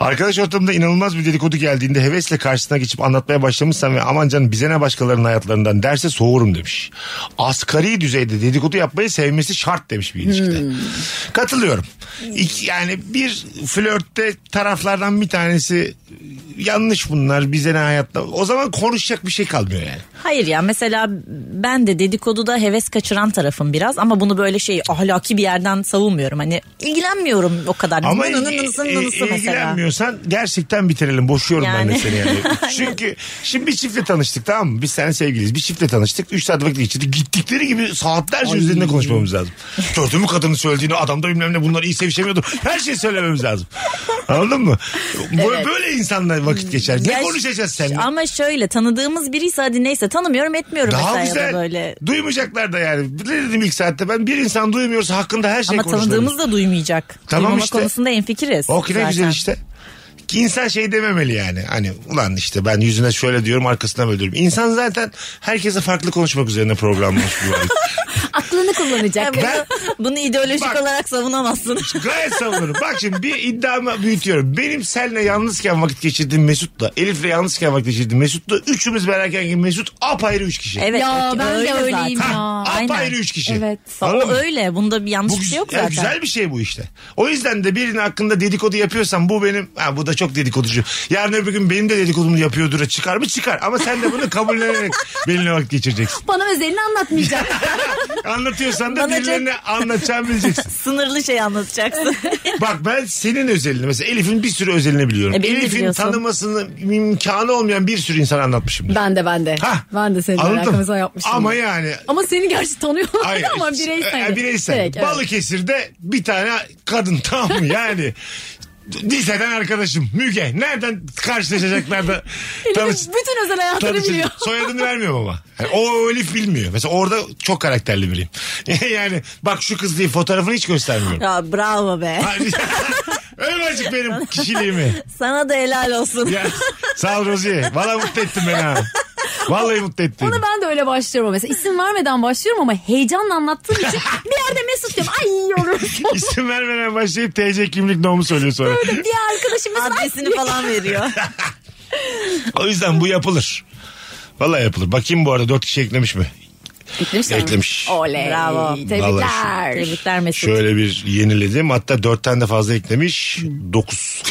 Arkadaş ortamında inanılmaz bir dedikodu geldiğinde hevesle karşısına geçip anlatmaya başlamışsan ve aman canım bize ne başkalarının hayatlarından derse soğurum demiş. Asgari düzeyde dedikodu yapmayı sevmesi şart demiş bir ilişkide. Hmm. Katılıyorum. İki- yani bir flörtte taraflardan bir tanesi yanlış bunlar bize ne hayatta. O zaman konuşacak bir şey kalmıyor yani. Hayır ya mesela ben de dedikoduda heves kaçıran tarafım biraz ama bunu böyle şey ahlaki bir yerden savunmuyorum. Hani ilgilenmiyorum o kadar. Ama Nı nı nı il- nısı il- nı nısı mesela. ilgilenmiyorsan gerçekten bitirelim. Boşuyorum ben de Yani. seni yani. Çünkü şimdi bir çiftle tanıştık tamam mı? Biz seninle sevgiliyiz. Bir çiftle tanıştık. 3 saat vakit geçirdik. Gittikleri gibi saatlerce üzerinde konuşmamız lazım. Gördün mü kadının söylediğini adam da bilmem ne bunları iyi sevişemiyordu. Her şeyi söylememiz lazım. Anladın mı? Böyle, böyle insanlar vakit geçer. Ne Ya ş- konuşacağız seninle? Ama şöyle tanıdığımız biriyse hadi neyse tanımıyorum etmiyorum Daha mesela ya güzel. şey da böyle. Duymayacaklar da yani. Ne dedim ilk saatte ben bir insan duymuyorsa hakkında her şey Ama konuşulur. tanıdığımız da duymayacak. Tamam Duymama işte. konusunda enfikiriz. O ki ne zaten. güzel işte. Ki insan şey dememeli yani. Hani ulan işte ben yüzüne şöyle diyorum arkasından böyle diyorum. İnsan zaten herkese farklı konuşmak üzerine programlamış bir varlık. Aklını kullanacak. bunu, Ben- bunu ideolojik Bak. olarak savunamazsın. Gayet savunurum. Bak şimdi bir iddiamı büyütüyorum. Benim seninle yalnızken vakit geçirdiğim Mesut'la Elif'le yalnızken vakit geçirdiğim Mesut'la üçümüz beraberken Mesut apayrı üç kişi. Evet. ya ben de zaten. öyleyim Ha, ya. apayrı aynen. üç kişi. Evet. Anladın O mı? öyle. Bunda bir yanlış bir şey yok ya zaten. güzel bir şey bu işte. O yüzden de birinin hakkında dedikodu yapıyorsan bu benim ha bu da çok dedikoducu. Yarın öbür gün benim de dedikodumu yapıyordur çıkar mı çıkar ama sen de bunu kabullenerek benimle vakit geçireceksin. Bana özelini anlatmayacak. Anlatıyorsan da Bana çok- birilerine anlatacağını bileceksin. Sınırlı şey anlatacaksın. Bak ben senin özelini mesela Elif'in bir sürü özelini biliyorum. E, beni de Elif'in biliyorsun. tanımasının imkanı olmayan bir sürü insan anlatmışım. ben de ben de. Hah. Ben de senin Anladın mı? alakamıza yapmışım. Ama yani Ama seni gerçi tanıyorlar Hayır. ama hiç- bireysel. e, bireysel. Direkt, evet. Balıkesir'de bir tane kadın tamam mı yani? Liseden arkadaşım Müge. Nereden karşılaşacaklar da tanış, Bütün özel hayatını tanışacak- biliyor. Soyadını vermiyor ama. Yani o Elif bilmiyor. Mesela orada çok karakterli biriyim. yani bak şu kız diye fotoğrafını hiç göstermiyorum. ya bravo be. Hani- Öyle azıcık benim kişiliğimi. Sana da helal olsun. Ya, sağ ol Rozi. Valla mutlu ettin beni ha. Vallahi mutlu ettin. Ona ben de öyle başlıyorum mesela. İsim vermeden başlıyorum ama heyecanla anlattığım için bir yerde Mesut diyorum. Ay yorulmuş. İsim vermeden başlayıp TC kimlik nomu söylüyor sonra. Diğer arkadaşım mesela. ay, Adresini falan veriyor. O yüzden bu yapılır. Vallahi yapılır. Bakayım bu arada dört kişi eklemiş mi? Eklemiş mi? Eklemiş. Oley. Bravo. Vallahi Tebrikler. Tebrikler Mesut. Şöyle bir yeniledim. Hatta dörtten de fazla eklemiş. Dokuz.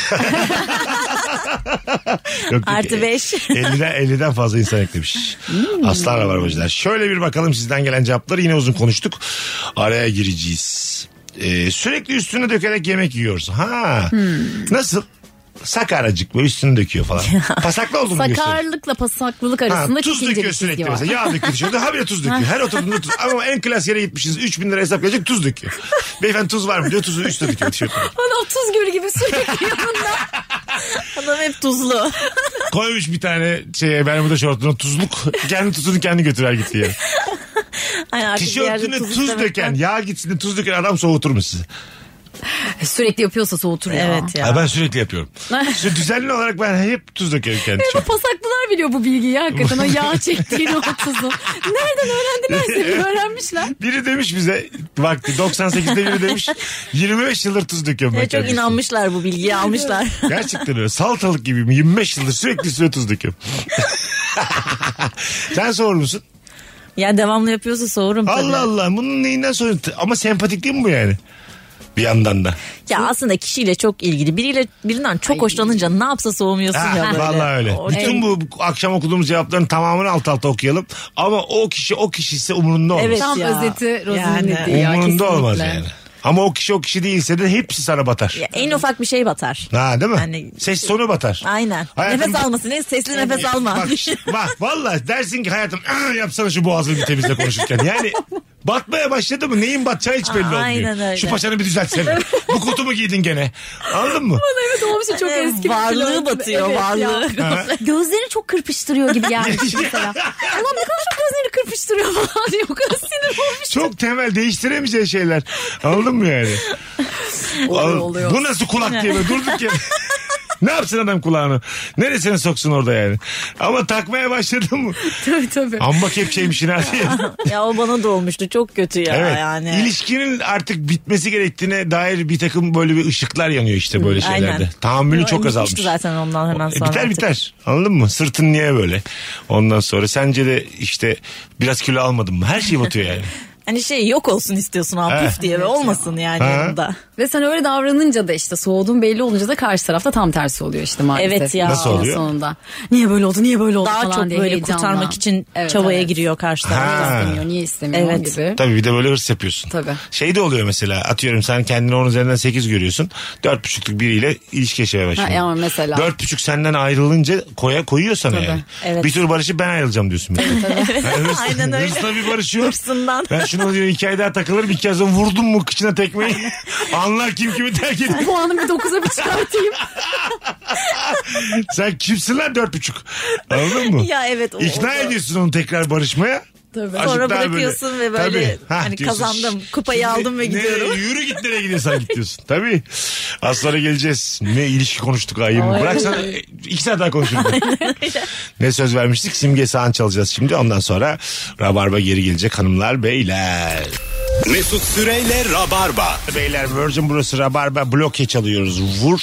Yok, yok. Artı beş. Hmm. 50'den, 50'den fazla insan eklemiş. Aslan rabarbacılar. Şöyle bir bakalım sizden gelen cevapları. Yine uzun konuştuk. Araya gireceğiz. Ee, sürekli üstüne dökerek yemek yiyoruz. Ha. Hmm. Nasıl? Sakaracık böyle üstünü döküyor falan. Pasaklı olduğunu gösteriyor. Sakarlıkla pasaklılık arasında Ha, tuz çok ince bir döküyor çizgi sürekli var. mesela. Yağ döküyor dışarıda. Habire tuz döküyor. Her oturduğunda tuz. Ama en klas yere gitmişsiniz. 3000 lira hesap gelecek tuz döküyor. Beyefendi tuz var mı diyor. Tuzu 3 döküyor tişörtüne. Adam tuz gölü gibi sürekli yanında. Adam hep tuzlu. Koymuş bir tane şeye Bermuda şortuna tuzluk. Kendi tuzunu kendi götürer gitti yere. Hani artık bir yerde Tişörtüne tuz, istemekten- döken, yağ gitsin de tuz döken adam soğutur mu sizi? Sürekli yapıyorsa soğutur ya. Evet ya. Ha, ben sürekli yapıyorum. Şu düzenli olarak ben hep tuz dökerim kendi Ama tişörtüme. pasaklılar biliyor bu bilgiyi hakikaten. O yağ çektiğini o tuzu. Nereden öğrendilerse bir öğrenmişler. Biri demiş bize vakti 98'de biri demiş 25 yıldır tuz döküyorum ben. Ve çok kendi üstüme. inanmışlar bu bilgiyi almışlar. Gerçekten öyle. Salatalık gibiyim. 25 yıldır sürekli üstüne tuz döküyorum. Sen soğur musun? ya devamlı yapıyorsa soğurum tabii. Allah Allah bunun neyinden soğur? Ama sempatik değil mi bu yani? Bir yandan da. Ya aslında kişiyle çok ilgili. Biriyle birinden çok hoşlanınca ne yapsa soğumuyorsun Ha, ya böyle. vallahi öyle. O- Bütün bu bu akşam okuduğumuz cevapların tamamını alt alta okuyalım. Ama o kişi o kişiyse umurunda olmaz. Evet Tam ya. özeti Rozi'nin Yani. dediği ya. umurunda olmaz kesinlikle. yani. Ama o kişi o kişi değilse de hepsi sana batar. Ya en ufak bir şey batar. Ha değil mi? Yani- Ses sonu batar. Aynen. Hayatım- Nefes alması ne? Sesli nefes alma. Bak, bak valla dersin ki hayatım "Ah, yapsana şu boğazını bir temizle konuşurken. Yani batmaya başladı mı neyin batacağı hiç belli olmuyor. Aynen öyle. Şu paçanı bir düzeltsene. Bu kutu mu giydin gene? Anladın mı? Evet olmuş çok Evet, eski. bir Ee, varlığı flört. batıyor, varlığı. Ya. Gözlerini çok kırpıştırıyor gibi yani mesela. Ulan ne kadar çok gözlerini kırpıştırıyor falan diye. O kadar sinir olmuş. şey Çok temel değiştiremeyeceğin şeyler. Anladın mı yani? Al- Bu nasıl kulak diye böyle durduk ya. ne yapsın adam kulağını? Neresine soksun orada yani? Ama takmaya başladın mı? Tabii tabii. Amma kepçeymişsin ha diye. ya o bana da olmuştu. Çok kötü ya Evet. yani. İlişkinin artık bitmesi gerektiğine dair bir takım böyle bir ışıklar yanıyor işte böyle Aynen. şeylerde. Tahammülün Ya, çok bitmişti azalmış. zaten ondan hemen E, sonra. biter artık. biter. Anladın mı? Sırtın niye böyle? Ondan sonra sence de işte biraz kilo almadım mı? Her şey batıyor yani. Hani şey yok olsun istiyorsun ha He. puf diye ve olmasın yani Eh. Ha. yanında. Ve sen öyle davranınca da işte soğuduğun belli olunca da karşı tarafta tam tersi oluyor işte maalesef. Evet ya. Nasıl oluyor? Sonunda. Niye böyle oldu niye böyle oldu Daha falan çok diye böyle heyecanla. kurtarmak için Evet, çabaya evet. giriyor karşı Ha. taraf. İstemiyor niye istemiyor Evet. gibi. Tabii bir de böyle hırs yapıyorsun. Tabii. Şey de oluyor mesela atıyorum sen kendini 10 üzerinden 8 görüyorsun. 4,5'luk biriyle ilişki yaşamaya başlıyorsun. Ha, yani mesela. 4,5 senden ayrılınca koya koyuyor sana yani. Evet. Bir tur barışıp ben ayrılacağım diyorsun. Tabii, Aynen öyle. Hırsla bir barışıyor. Hırsından. Ben şunu diyor iki ay daha takılırım iki ay sonra vurdum mu kıçına tekmeyi anlar kim kimi terk ediyor. Puanı bir dokuza bir çıkartayım. Sen kimsin lan dört buçuk anladın mı? Ya evet, o- İkna o da- ediyorsun onu tekrar barışmaya Tabii. Azıcık Sonra daha böyle. bırakıyorsun ve böyle Tabii. Ha, hani diyorsun. kazandım, kupayı aldım ve Ne- gidiyorum. yürü git nereye gidiyorsan git diyorsun. Tabii. Az sonra geleceğiz. Ne ilişki konuştuk ayım. Bıraksana e, iki saat daha konuşuruz. ne söz vermiştik? Simge Sağan çalacağız şimdi. Ondan sonra Rabarba geri gelecek hanımlar beyler. Mesut Süreyle Rabarba. Beyler Virgin burası Rabarba bloke çalıyoruz. Vur.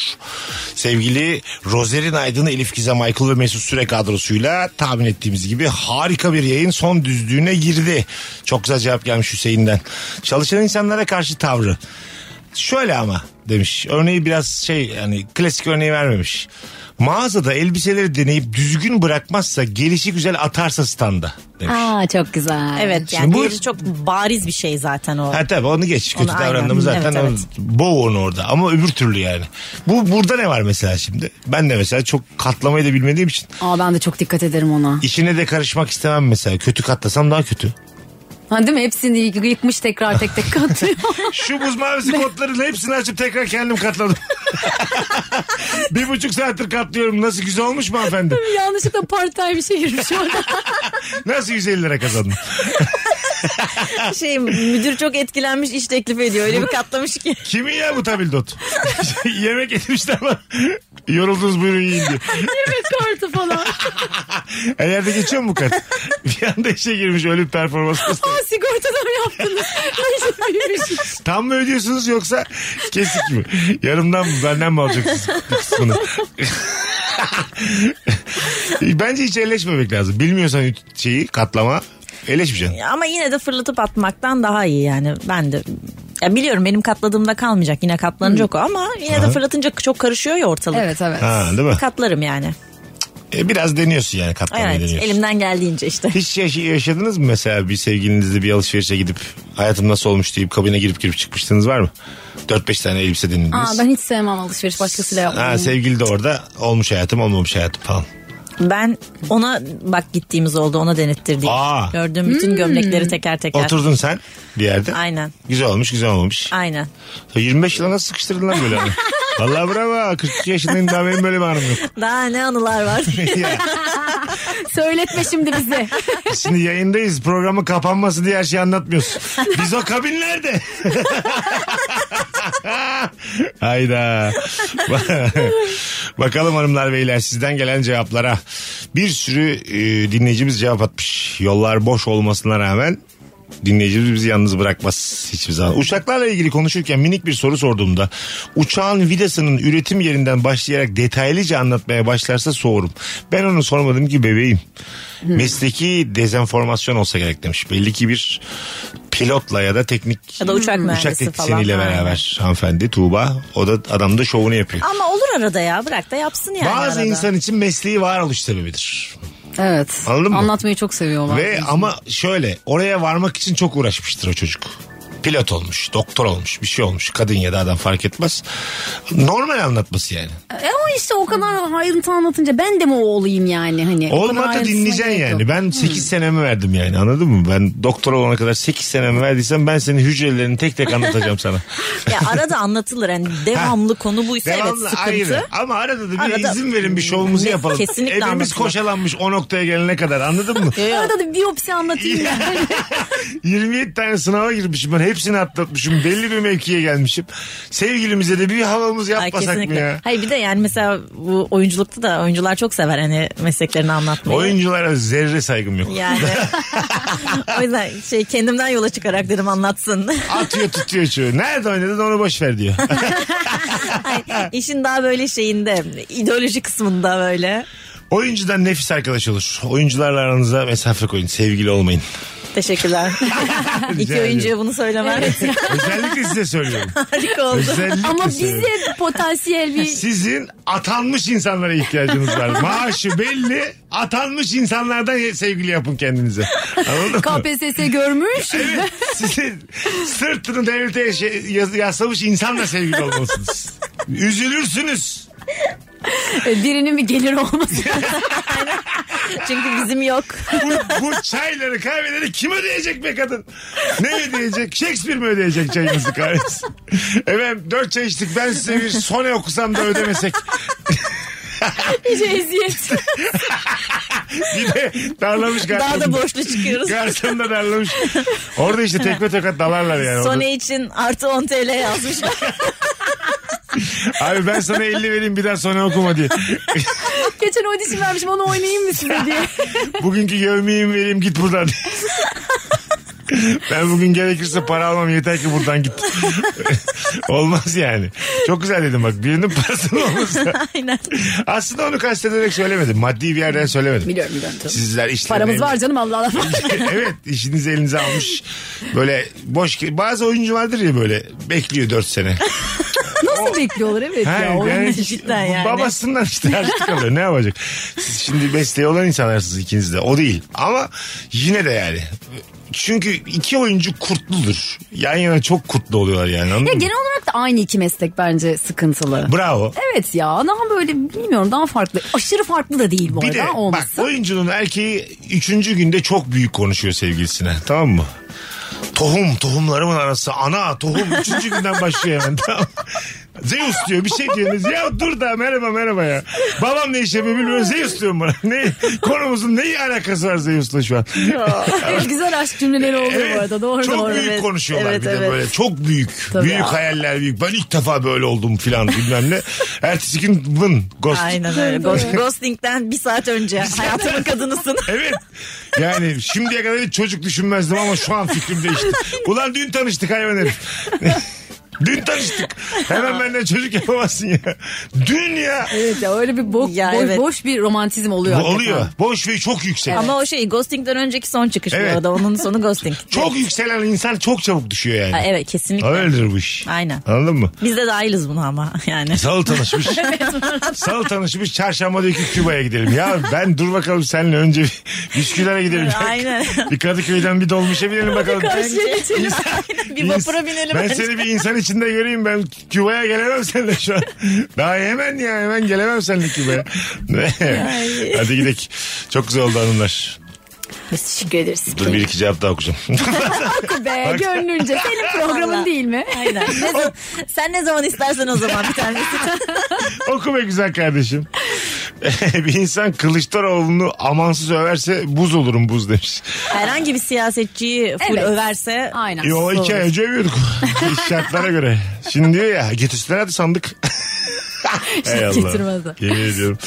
Sevgili Rozerin Aydın, Elif Gizem Aykul ve Mesut Süre kadrosuyla tahmin ettiğimiz gibi harika bir yayın son düzlüğüne girdi. Çok güzel cevap gelmiş Hüseyin'den. Çalışan insanlara karşı tavrı. Şöyle ama demiş. Örneği biraz şey yani klasik örneği vermemiş. Mağazada elbiseleri deneyip düzgün bırakmazsa gelişi güzel atarsa standa demiş. Aa çok güzel. Evet Şimdi yani bu- diğeri çok bariz bir şey zaten o. Ha tabii onu geç. Kötü Onu davrandığımız aynen. zaten Evet, o- boğ onu orada. Ama öbür türlü yani. Bu burada ne var mesela şimdi? Ben de mesela çok katlamayı da bilmediğim için Aa ben de çok dikkat ederim ona. işine de karışmak istemem mesela. Kötü katlasam daha kötü. Ha değil mi? Hepsini yık- yıkmış tekrar tek tek katlıyor. Şu buz mavisi kotların hepsini açıp tekrar kendim katladım. bir buçuk saattir katlıyorum. Nasıl güzel olmuş mu hanımefendi? Yanlışlıkla part time işe girmiş orada. Nasıl 150 lira kazandın? şey müdür çok etkilenmiş iş teklif ediyor. Öyle bir katlamış ki. Kimin ya bu tabildot? Yemek etmişler bana. Yoruldunuz buyurun yiyin diye. Yemek kartı falan. Her yerde geçiyor mu bu kart? bir anda işe girmiş öyle bir performans. Aa sigortadan yaptınız. Ay, büyümüş. Tam mı ödüyorsunuz yoksa kesik mi? Yarımdan mı benden mi alacaksınız bir kısmını? Bence hiç elleşmemek lazım. Bilmiyorsan şeyi katlama eleşmeyeceksin. Ama yine de fırlatıp atmaktan daha iyi yani. Ben de ya biliyorum benim katladığımda kalmayacak. Yine katlanacak Hmm. o ama yine de fırlatınca çok karışıyor ya ortalık. evet evet. Ha, değil mi? Katlarım yani. E, biraz deniyorsun yani katlamayı Evet deniyorsun. elimden geldiğince işte. Hiç yaş- yaşadınız mı mesela bir sevgilinizle bir alışverişe gidip hayatım nasıl olmuş deyip kabine girip girip çıkmıştınız var mı? 4-5 tane elbise Aa, dinlediniz. ben hiç Hmm. sevmem alışveriş başkasıyla yapmayı. Ha, sevgili de orada olmuş hayatım olmamış hayatım falan. Ben ona bak gittiğimiz oldu ona denettirdiğim. Aa. Gördüğüm Hmm. bütün gömlekleri teker teker. Oturdun sen bir yerde. Aynen. Güzel olmuş güzel olmamış. Aynen. Ya 25 yıla nasıl sıkıştırdın lan böyle hanım? Valla bravo 42 yaşındayım daha benim böyle bir hanım yok. Daha ne anılar var. Ya, Söyletme şimdi bizi. şimdi yayındayız programın kapanması diye her şeyi anlatmıyorsun. Biz o kabinlerde. Hayda. Bakalım hanımlar beyler sizden gelen cevaplara. Bir sürü e, dinleyicimiz cevap atmış. Yollar boş olmasına rağmen dinleyicimiz bizi yalnız bırakmaz hiçbir zaman. Uçaklarla ilgili konuşurken minik bir soru sorduğumda uçağın vidasının üretim yerinden başlayarak detaylıca anlatmaya başlarsa soğurum. Ben onu sormadım ki bebeğim. Mesleki dezenformasyon olsa gerek demiş. Belli ki bir pilotla ya da teknik Ya da uçak mühendisi uçak teknisyeniyle falan. beraber hanımefendi Tuğba. O da adam da şovunu yapıyor. Ama olur arada ya bırak da yapsın yani Bazı arada. insan için mesleği varoluş sebebidir. Evet. Anladın mı? Anlatmayı çok seviyorlar. Ve ama şöyle oraya varmak için çok uğraşmıştır o çocuk. Pilot olmuş, doktor olmuş, bir şey olmuş. Kadın ya da adam fark etmez. Normal anlatması yani. E o işte o kadar ayrıntı anlatınca ben de mi o olayım yani hani. O kadar Olmadı ayrıntısına dinleyeceksin gerek yok. yani. Hmm. Ben 8 senemi verdim yani anladın mı? Ben doktor olana kadar 8 senemi verdiysem ben senin hücrelerini tek tek anlatacağım sana. Ya arada anlatılır yani devamlı konu buysa Devamlı evet sıkıntı. ayrı. Ama arada da bir Arada- izin verin bir şovumuzu Ne- yapalım. kesinlikle Evimiz anlatılır. koşalanmış o noktaya gelene kadar anladın mı? Arada da biyopsi anlatayım ya. 27 tane sınava girmişim ben hepsini atlatmışım belli bir mevkiye gelmişim sevgilimize de bir havamız Ay, yapmasak mı kesinlikle. ya Hayır bir de yani mesela bu oyunculukta da oyuncular çok sever hani mesleklerini anlatmayı. oyunculara zerre saygım yok Yani o yüzden şey kendimden yola çıkarak dedim anlatsın. atıyor tutuyor çocuğu nerede oynadın onu boş ver diyor Ay, İşin daha böyle şeyinde ideoloji kısmında böyle. oyuncudan nefis arkadaş olur oyuncularla aranıza mesafe koyun sevgili olmayın Teşekkürler. Rica İki oyuncuya ederim. bunu söylemem özellikle size söylüyorum harika oldu. özellikle Ama söylüyorum. bize potansiyel bir sizin atanmış insanlara ihtiyacınız var. Maaşı belli. Atanmış insanlardan sevgili yapın kendinize. Anladın mı? KPSS görmüş. Evet, size sırtını devlete şey- yaz- yaslamış insanla sevgili olmalısınız. Üzülürsünüz. E, Birinin bir gelir olması. Çünkü bizim yok. Bu, bu çayları kahveleri kim ödeyecek be kadın? Ne ödeyecek? Shakespeare mi ödeyecek çayımızı kahvesi? Efendim dört çay içtik ben size bir sone okusam da ödemesek. İyice eziyet. bir de darlamış Daha garsonu. da borçlu çıkıyoruz. Garson da darlamış. Orada işte tekme tokat dalarlar yani. Orada- Sony için artı 10 TL yazmışlar. Abi ben sana 50 vereyim bir daha sonra okuma diye. Geçen audition vermişim onu oynayayım mı size diye. Bugünkü yevmiyim vereyim git buradan. ben bugün gerekirse para almam yeter ki buradan git. Olmaz yani. Çok güzel dedim bak birinin parasının olması. Aynen. Aslında onu kastederek söylemedim. Maddi bir yerden söylemedim. Biliyorum biliyorum. tabii. Sizler işlerine... Paramız var canım Allah Allah. evet işinizi elinize almış. Böyle boş ki bazı oyuncu vardır ya böyle bekliyor 4 sene. Nasıl bekliyorlar evet Ha, ya. Oyun yani için. cidden yani. Babasından işte harçlık kalıyor. Ne yapacak? Siz şimdi mesleği olan insanlarsınız ikiniz de. O değil. Ama yine de yani. Çünkü iki oyuncu kurtludur. Yan yana çok kurtlu oluyorlar yani. Anladın Ya mı? genel olarak da aynı iki meslek bence sıkıntılı. Bravo. Evet ya daha böyle bilmiyorum daha farklı. Aşırı farklı da değil bu Bir de arada bak olması. oyuncunun erkeği üçüncü günde çok büyük konuşuyor sevgilisine. Tamam mı? Tohum, tohumlarımın arası. Ana, tohum. Üçüncü günden başlıyor hemen. Tamam. Zeus diyor bir şey diyorsunuz. Ya dur da merhaba merhaba ya. Babam ne iş yapıyor bilmiyorum. Zeus diyorum bana. Ne, konumuzun ne alakası var Zeus'la şu an? Evet, güzel aşk cümleleri oluyor bu arada doğru çok doğru. büyük evet. konuşuyorlar Evet, bir de evet. böyle. Çok büyük. Tabii büyük ya. hayaller büyük. Ben ilk defa böyle oldum filan bilmem ne. Ertesi gün bın. Ghost. Aynen öyle. Ghost- Ghosting'den bir saat önce hayatımın kadınısın. Evet. Yani şimdiye kadar hiç çocuk düşünmezdim ama şu an fikrim değişti. Ulan dün tanıştık hayvan herif. dün tanıştık. Hemen benden çocuk yapamazsın ya. Dün ya. Evet ya öyle bir bo- Ya bo- evet. boş bir romantizm Bu oluyor. oluyor. hakikaten. Boş ve çok yüksek. Ama o şey ghosting'den önceki son çıkış Evet. bu arada. Onun sonu ghosting. Çok yükselen insan çok çabuk düşüyor yani. Ha, evet kesinlikle. Öyledir bu iş. Aynen. Anladın mı? Biz de dahiliz buna ama yani. Salı tanışmış. Salı tanışmış çarşamba diyor ki Küba'ya gidelim. Ya ben dur bakalım seninle önce bir Üsküdar'a gidelim. Aynen. bir Kadıköy'den bir dolmuşa binelim bakalım. Karşıya geçelim. Aynen. Bir vapura binelim. Ben önce. seni bir insan içinde göreyim ben Küba'ya gelemem seninle şu an. Daha hemen ya hemen gelemem seninle Küba'ya. Hadi gidelim. Çok güzel oldu hanımlar. Biz teşekkür ederiz. Dur bir iki cevap daha okuyacağım. Be gönlünce senin programın Vallahi. değil mi? Aynen. Ne zaman- sen ne zaman istersen o zaman bir tanesi. Oku be güzel kardeşim. bir insan Kılıçdaroğlu'nu amansız överse buz olurum buz demiş. Herhangi bir siyasetçiyi full Evet. överse Aynen. Yo iki ay önce övüyorduk. Şartlara göre. Şimdi diyor ya getirsinler hadi sandık. Hay Allah. getirmezler. Yemin ediyorum.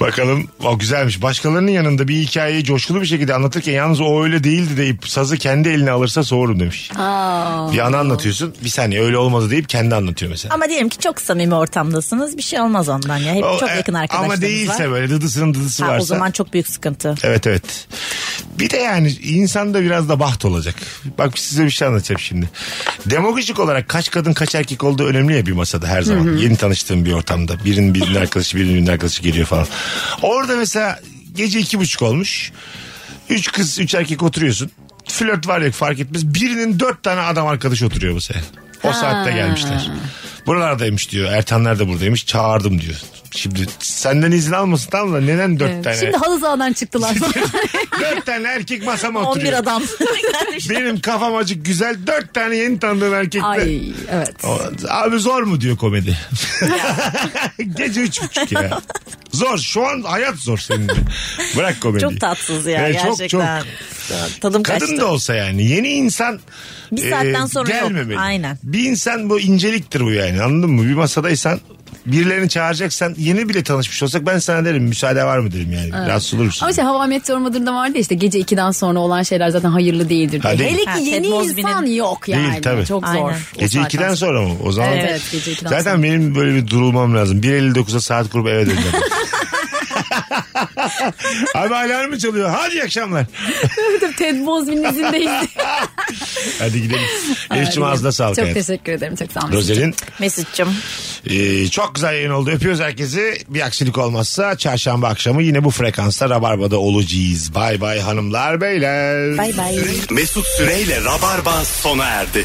Bakalım o güzelmiş. Başkalarının yanında bir hikayeyi coşkulu bir şekilde anlatırken yalnız o öyle değildi deyip sazı kendi eline alırsa soğurum demiş. Aa. Bir anı anlatıyorsun bir saniye öyle olmadı deyip kendi anlatıyor mesela. ama diyelim ki çok samimi ortamdasınız bir şey olmaz ondan ya. Hep O, çok e, yakın arkadaşlarınız Ama değilse var. böyle dıdısının dıdısı Ha, varsa. o zaman çok büyük sıkıntı. Evet evet. Bir de yani insanda biraz da baht olacak. Bak size bir şey anlatacağım şimdi. Demografik olarak kaç kadın kaç erkek olduğu önemli ya bir masada her zaman. Yeni tanıştığım bir ortamda. Birinin birinin arkadaşı birinin birinin arkadaşı geliyor falan. Orada mesela gece iki buçuk olmuş. Üç kız üç erkek oturuyorsun. Flört var yok fark etmez. Birinin dört tane adam arkadaşı oturuyor bu sefer. O saatte gelmişler. Buralardaymış diyor. Ertanlar da buradaymış. Çağırdım diyor. Şimdi senden izin almasın tamam da neden dört tane? Şimdi halı sahadan çıktılar. Dört tane erkek masama 11 oturuyor. adam. Benim kafam acık güzel. Dört tane yeni tanıdığım erkekle. Ay evet. O- Abi zor mu diyor komedi. Gece üç buçuk ya. Zor. Şu an hayat zor senin. de. Bırak komediyi. çok tatsız ya Evet, E, çok, gerçekten. çok. Tadım Kadın kaçtı. da olsa yani. Yeni insan e, Bir saatten sonra yok. gelmemeli. Aynen. Bir insan bu inceliktir bu yani anladın mı? Bir masadaysan birilerini çağıracaksan yeni bile tanışmış olsak ben sana derim müsaade var mı derim yani. Rahatsız olur musun? Ama şey Hava Meteor Mıdır'da vardı ya işte gece 2'den sonra olan şeyler zaten hayırlı değildir. diye. Ha, değil. Hele Ha, ki yeni Ted Mosby'nin- insan yok yani. Değil, tabii. Çok Aynen. zor. O Gece saatten 2'den sonra mı? O zaman Evet, evet, gece 2'den Zaten sonra. benim böyle bir durulmam lazım. 1.59'a saat kurup eve döneceğim. Abi alarmı çalıyor. Hadi iyi akşamlar. Ted Bozbi'nin izindeyiz. Hadi gidelim. Elif'ciğim ağzına sağlık. Çok hayatım. teşekkür ederim. Çok sağ olun. Rozel'in Mesut'cum. e, çok güzel yayın oldu. Öpüyoruz herkesi. Bir aksilik olmazsa çarşamba akşamı yine bu frekansta Rabarba'da olacağız. Bay bay hanımlar beyler. Bay bay. Mesut Süreyle Rabarba sona erdi.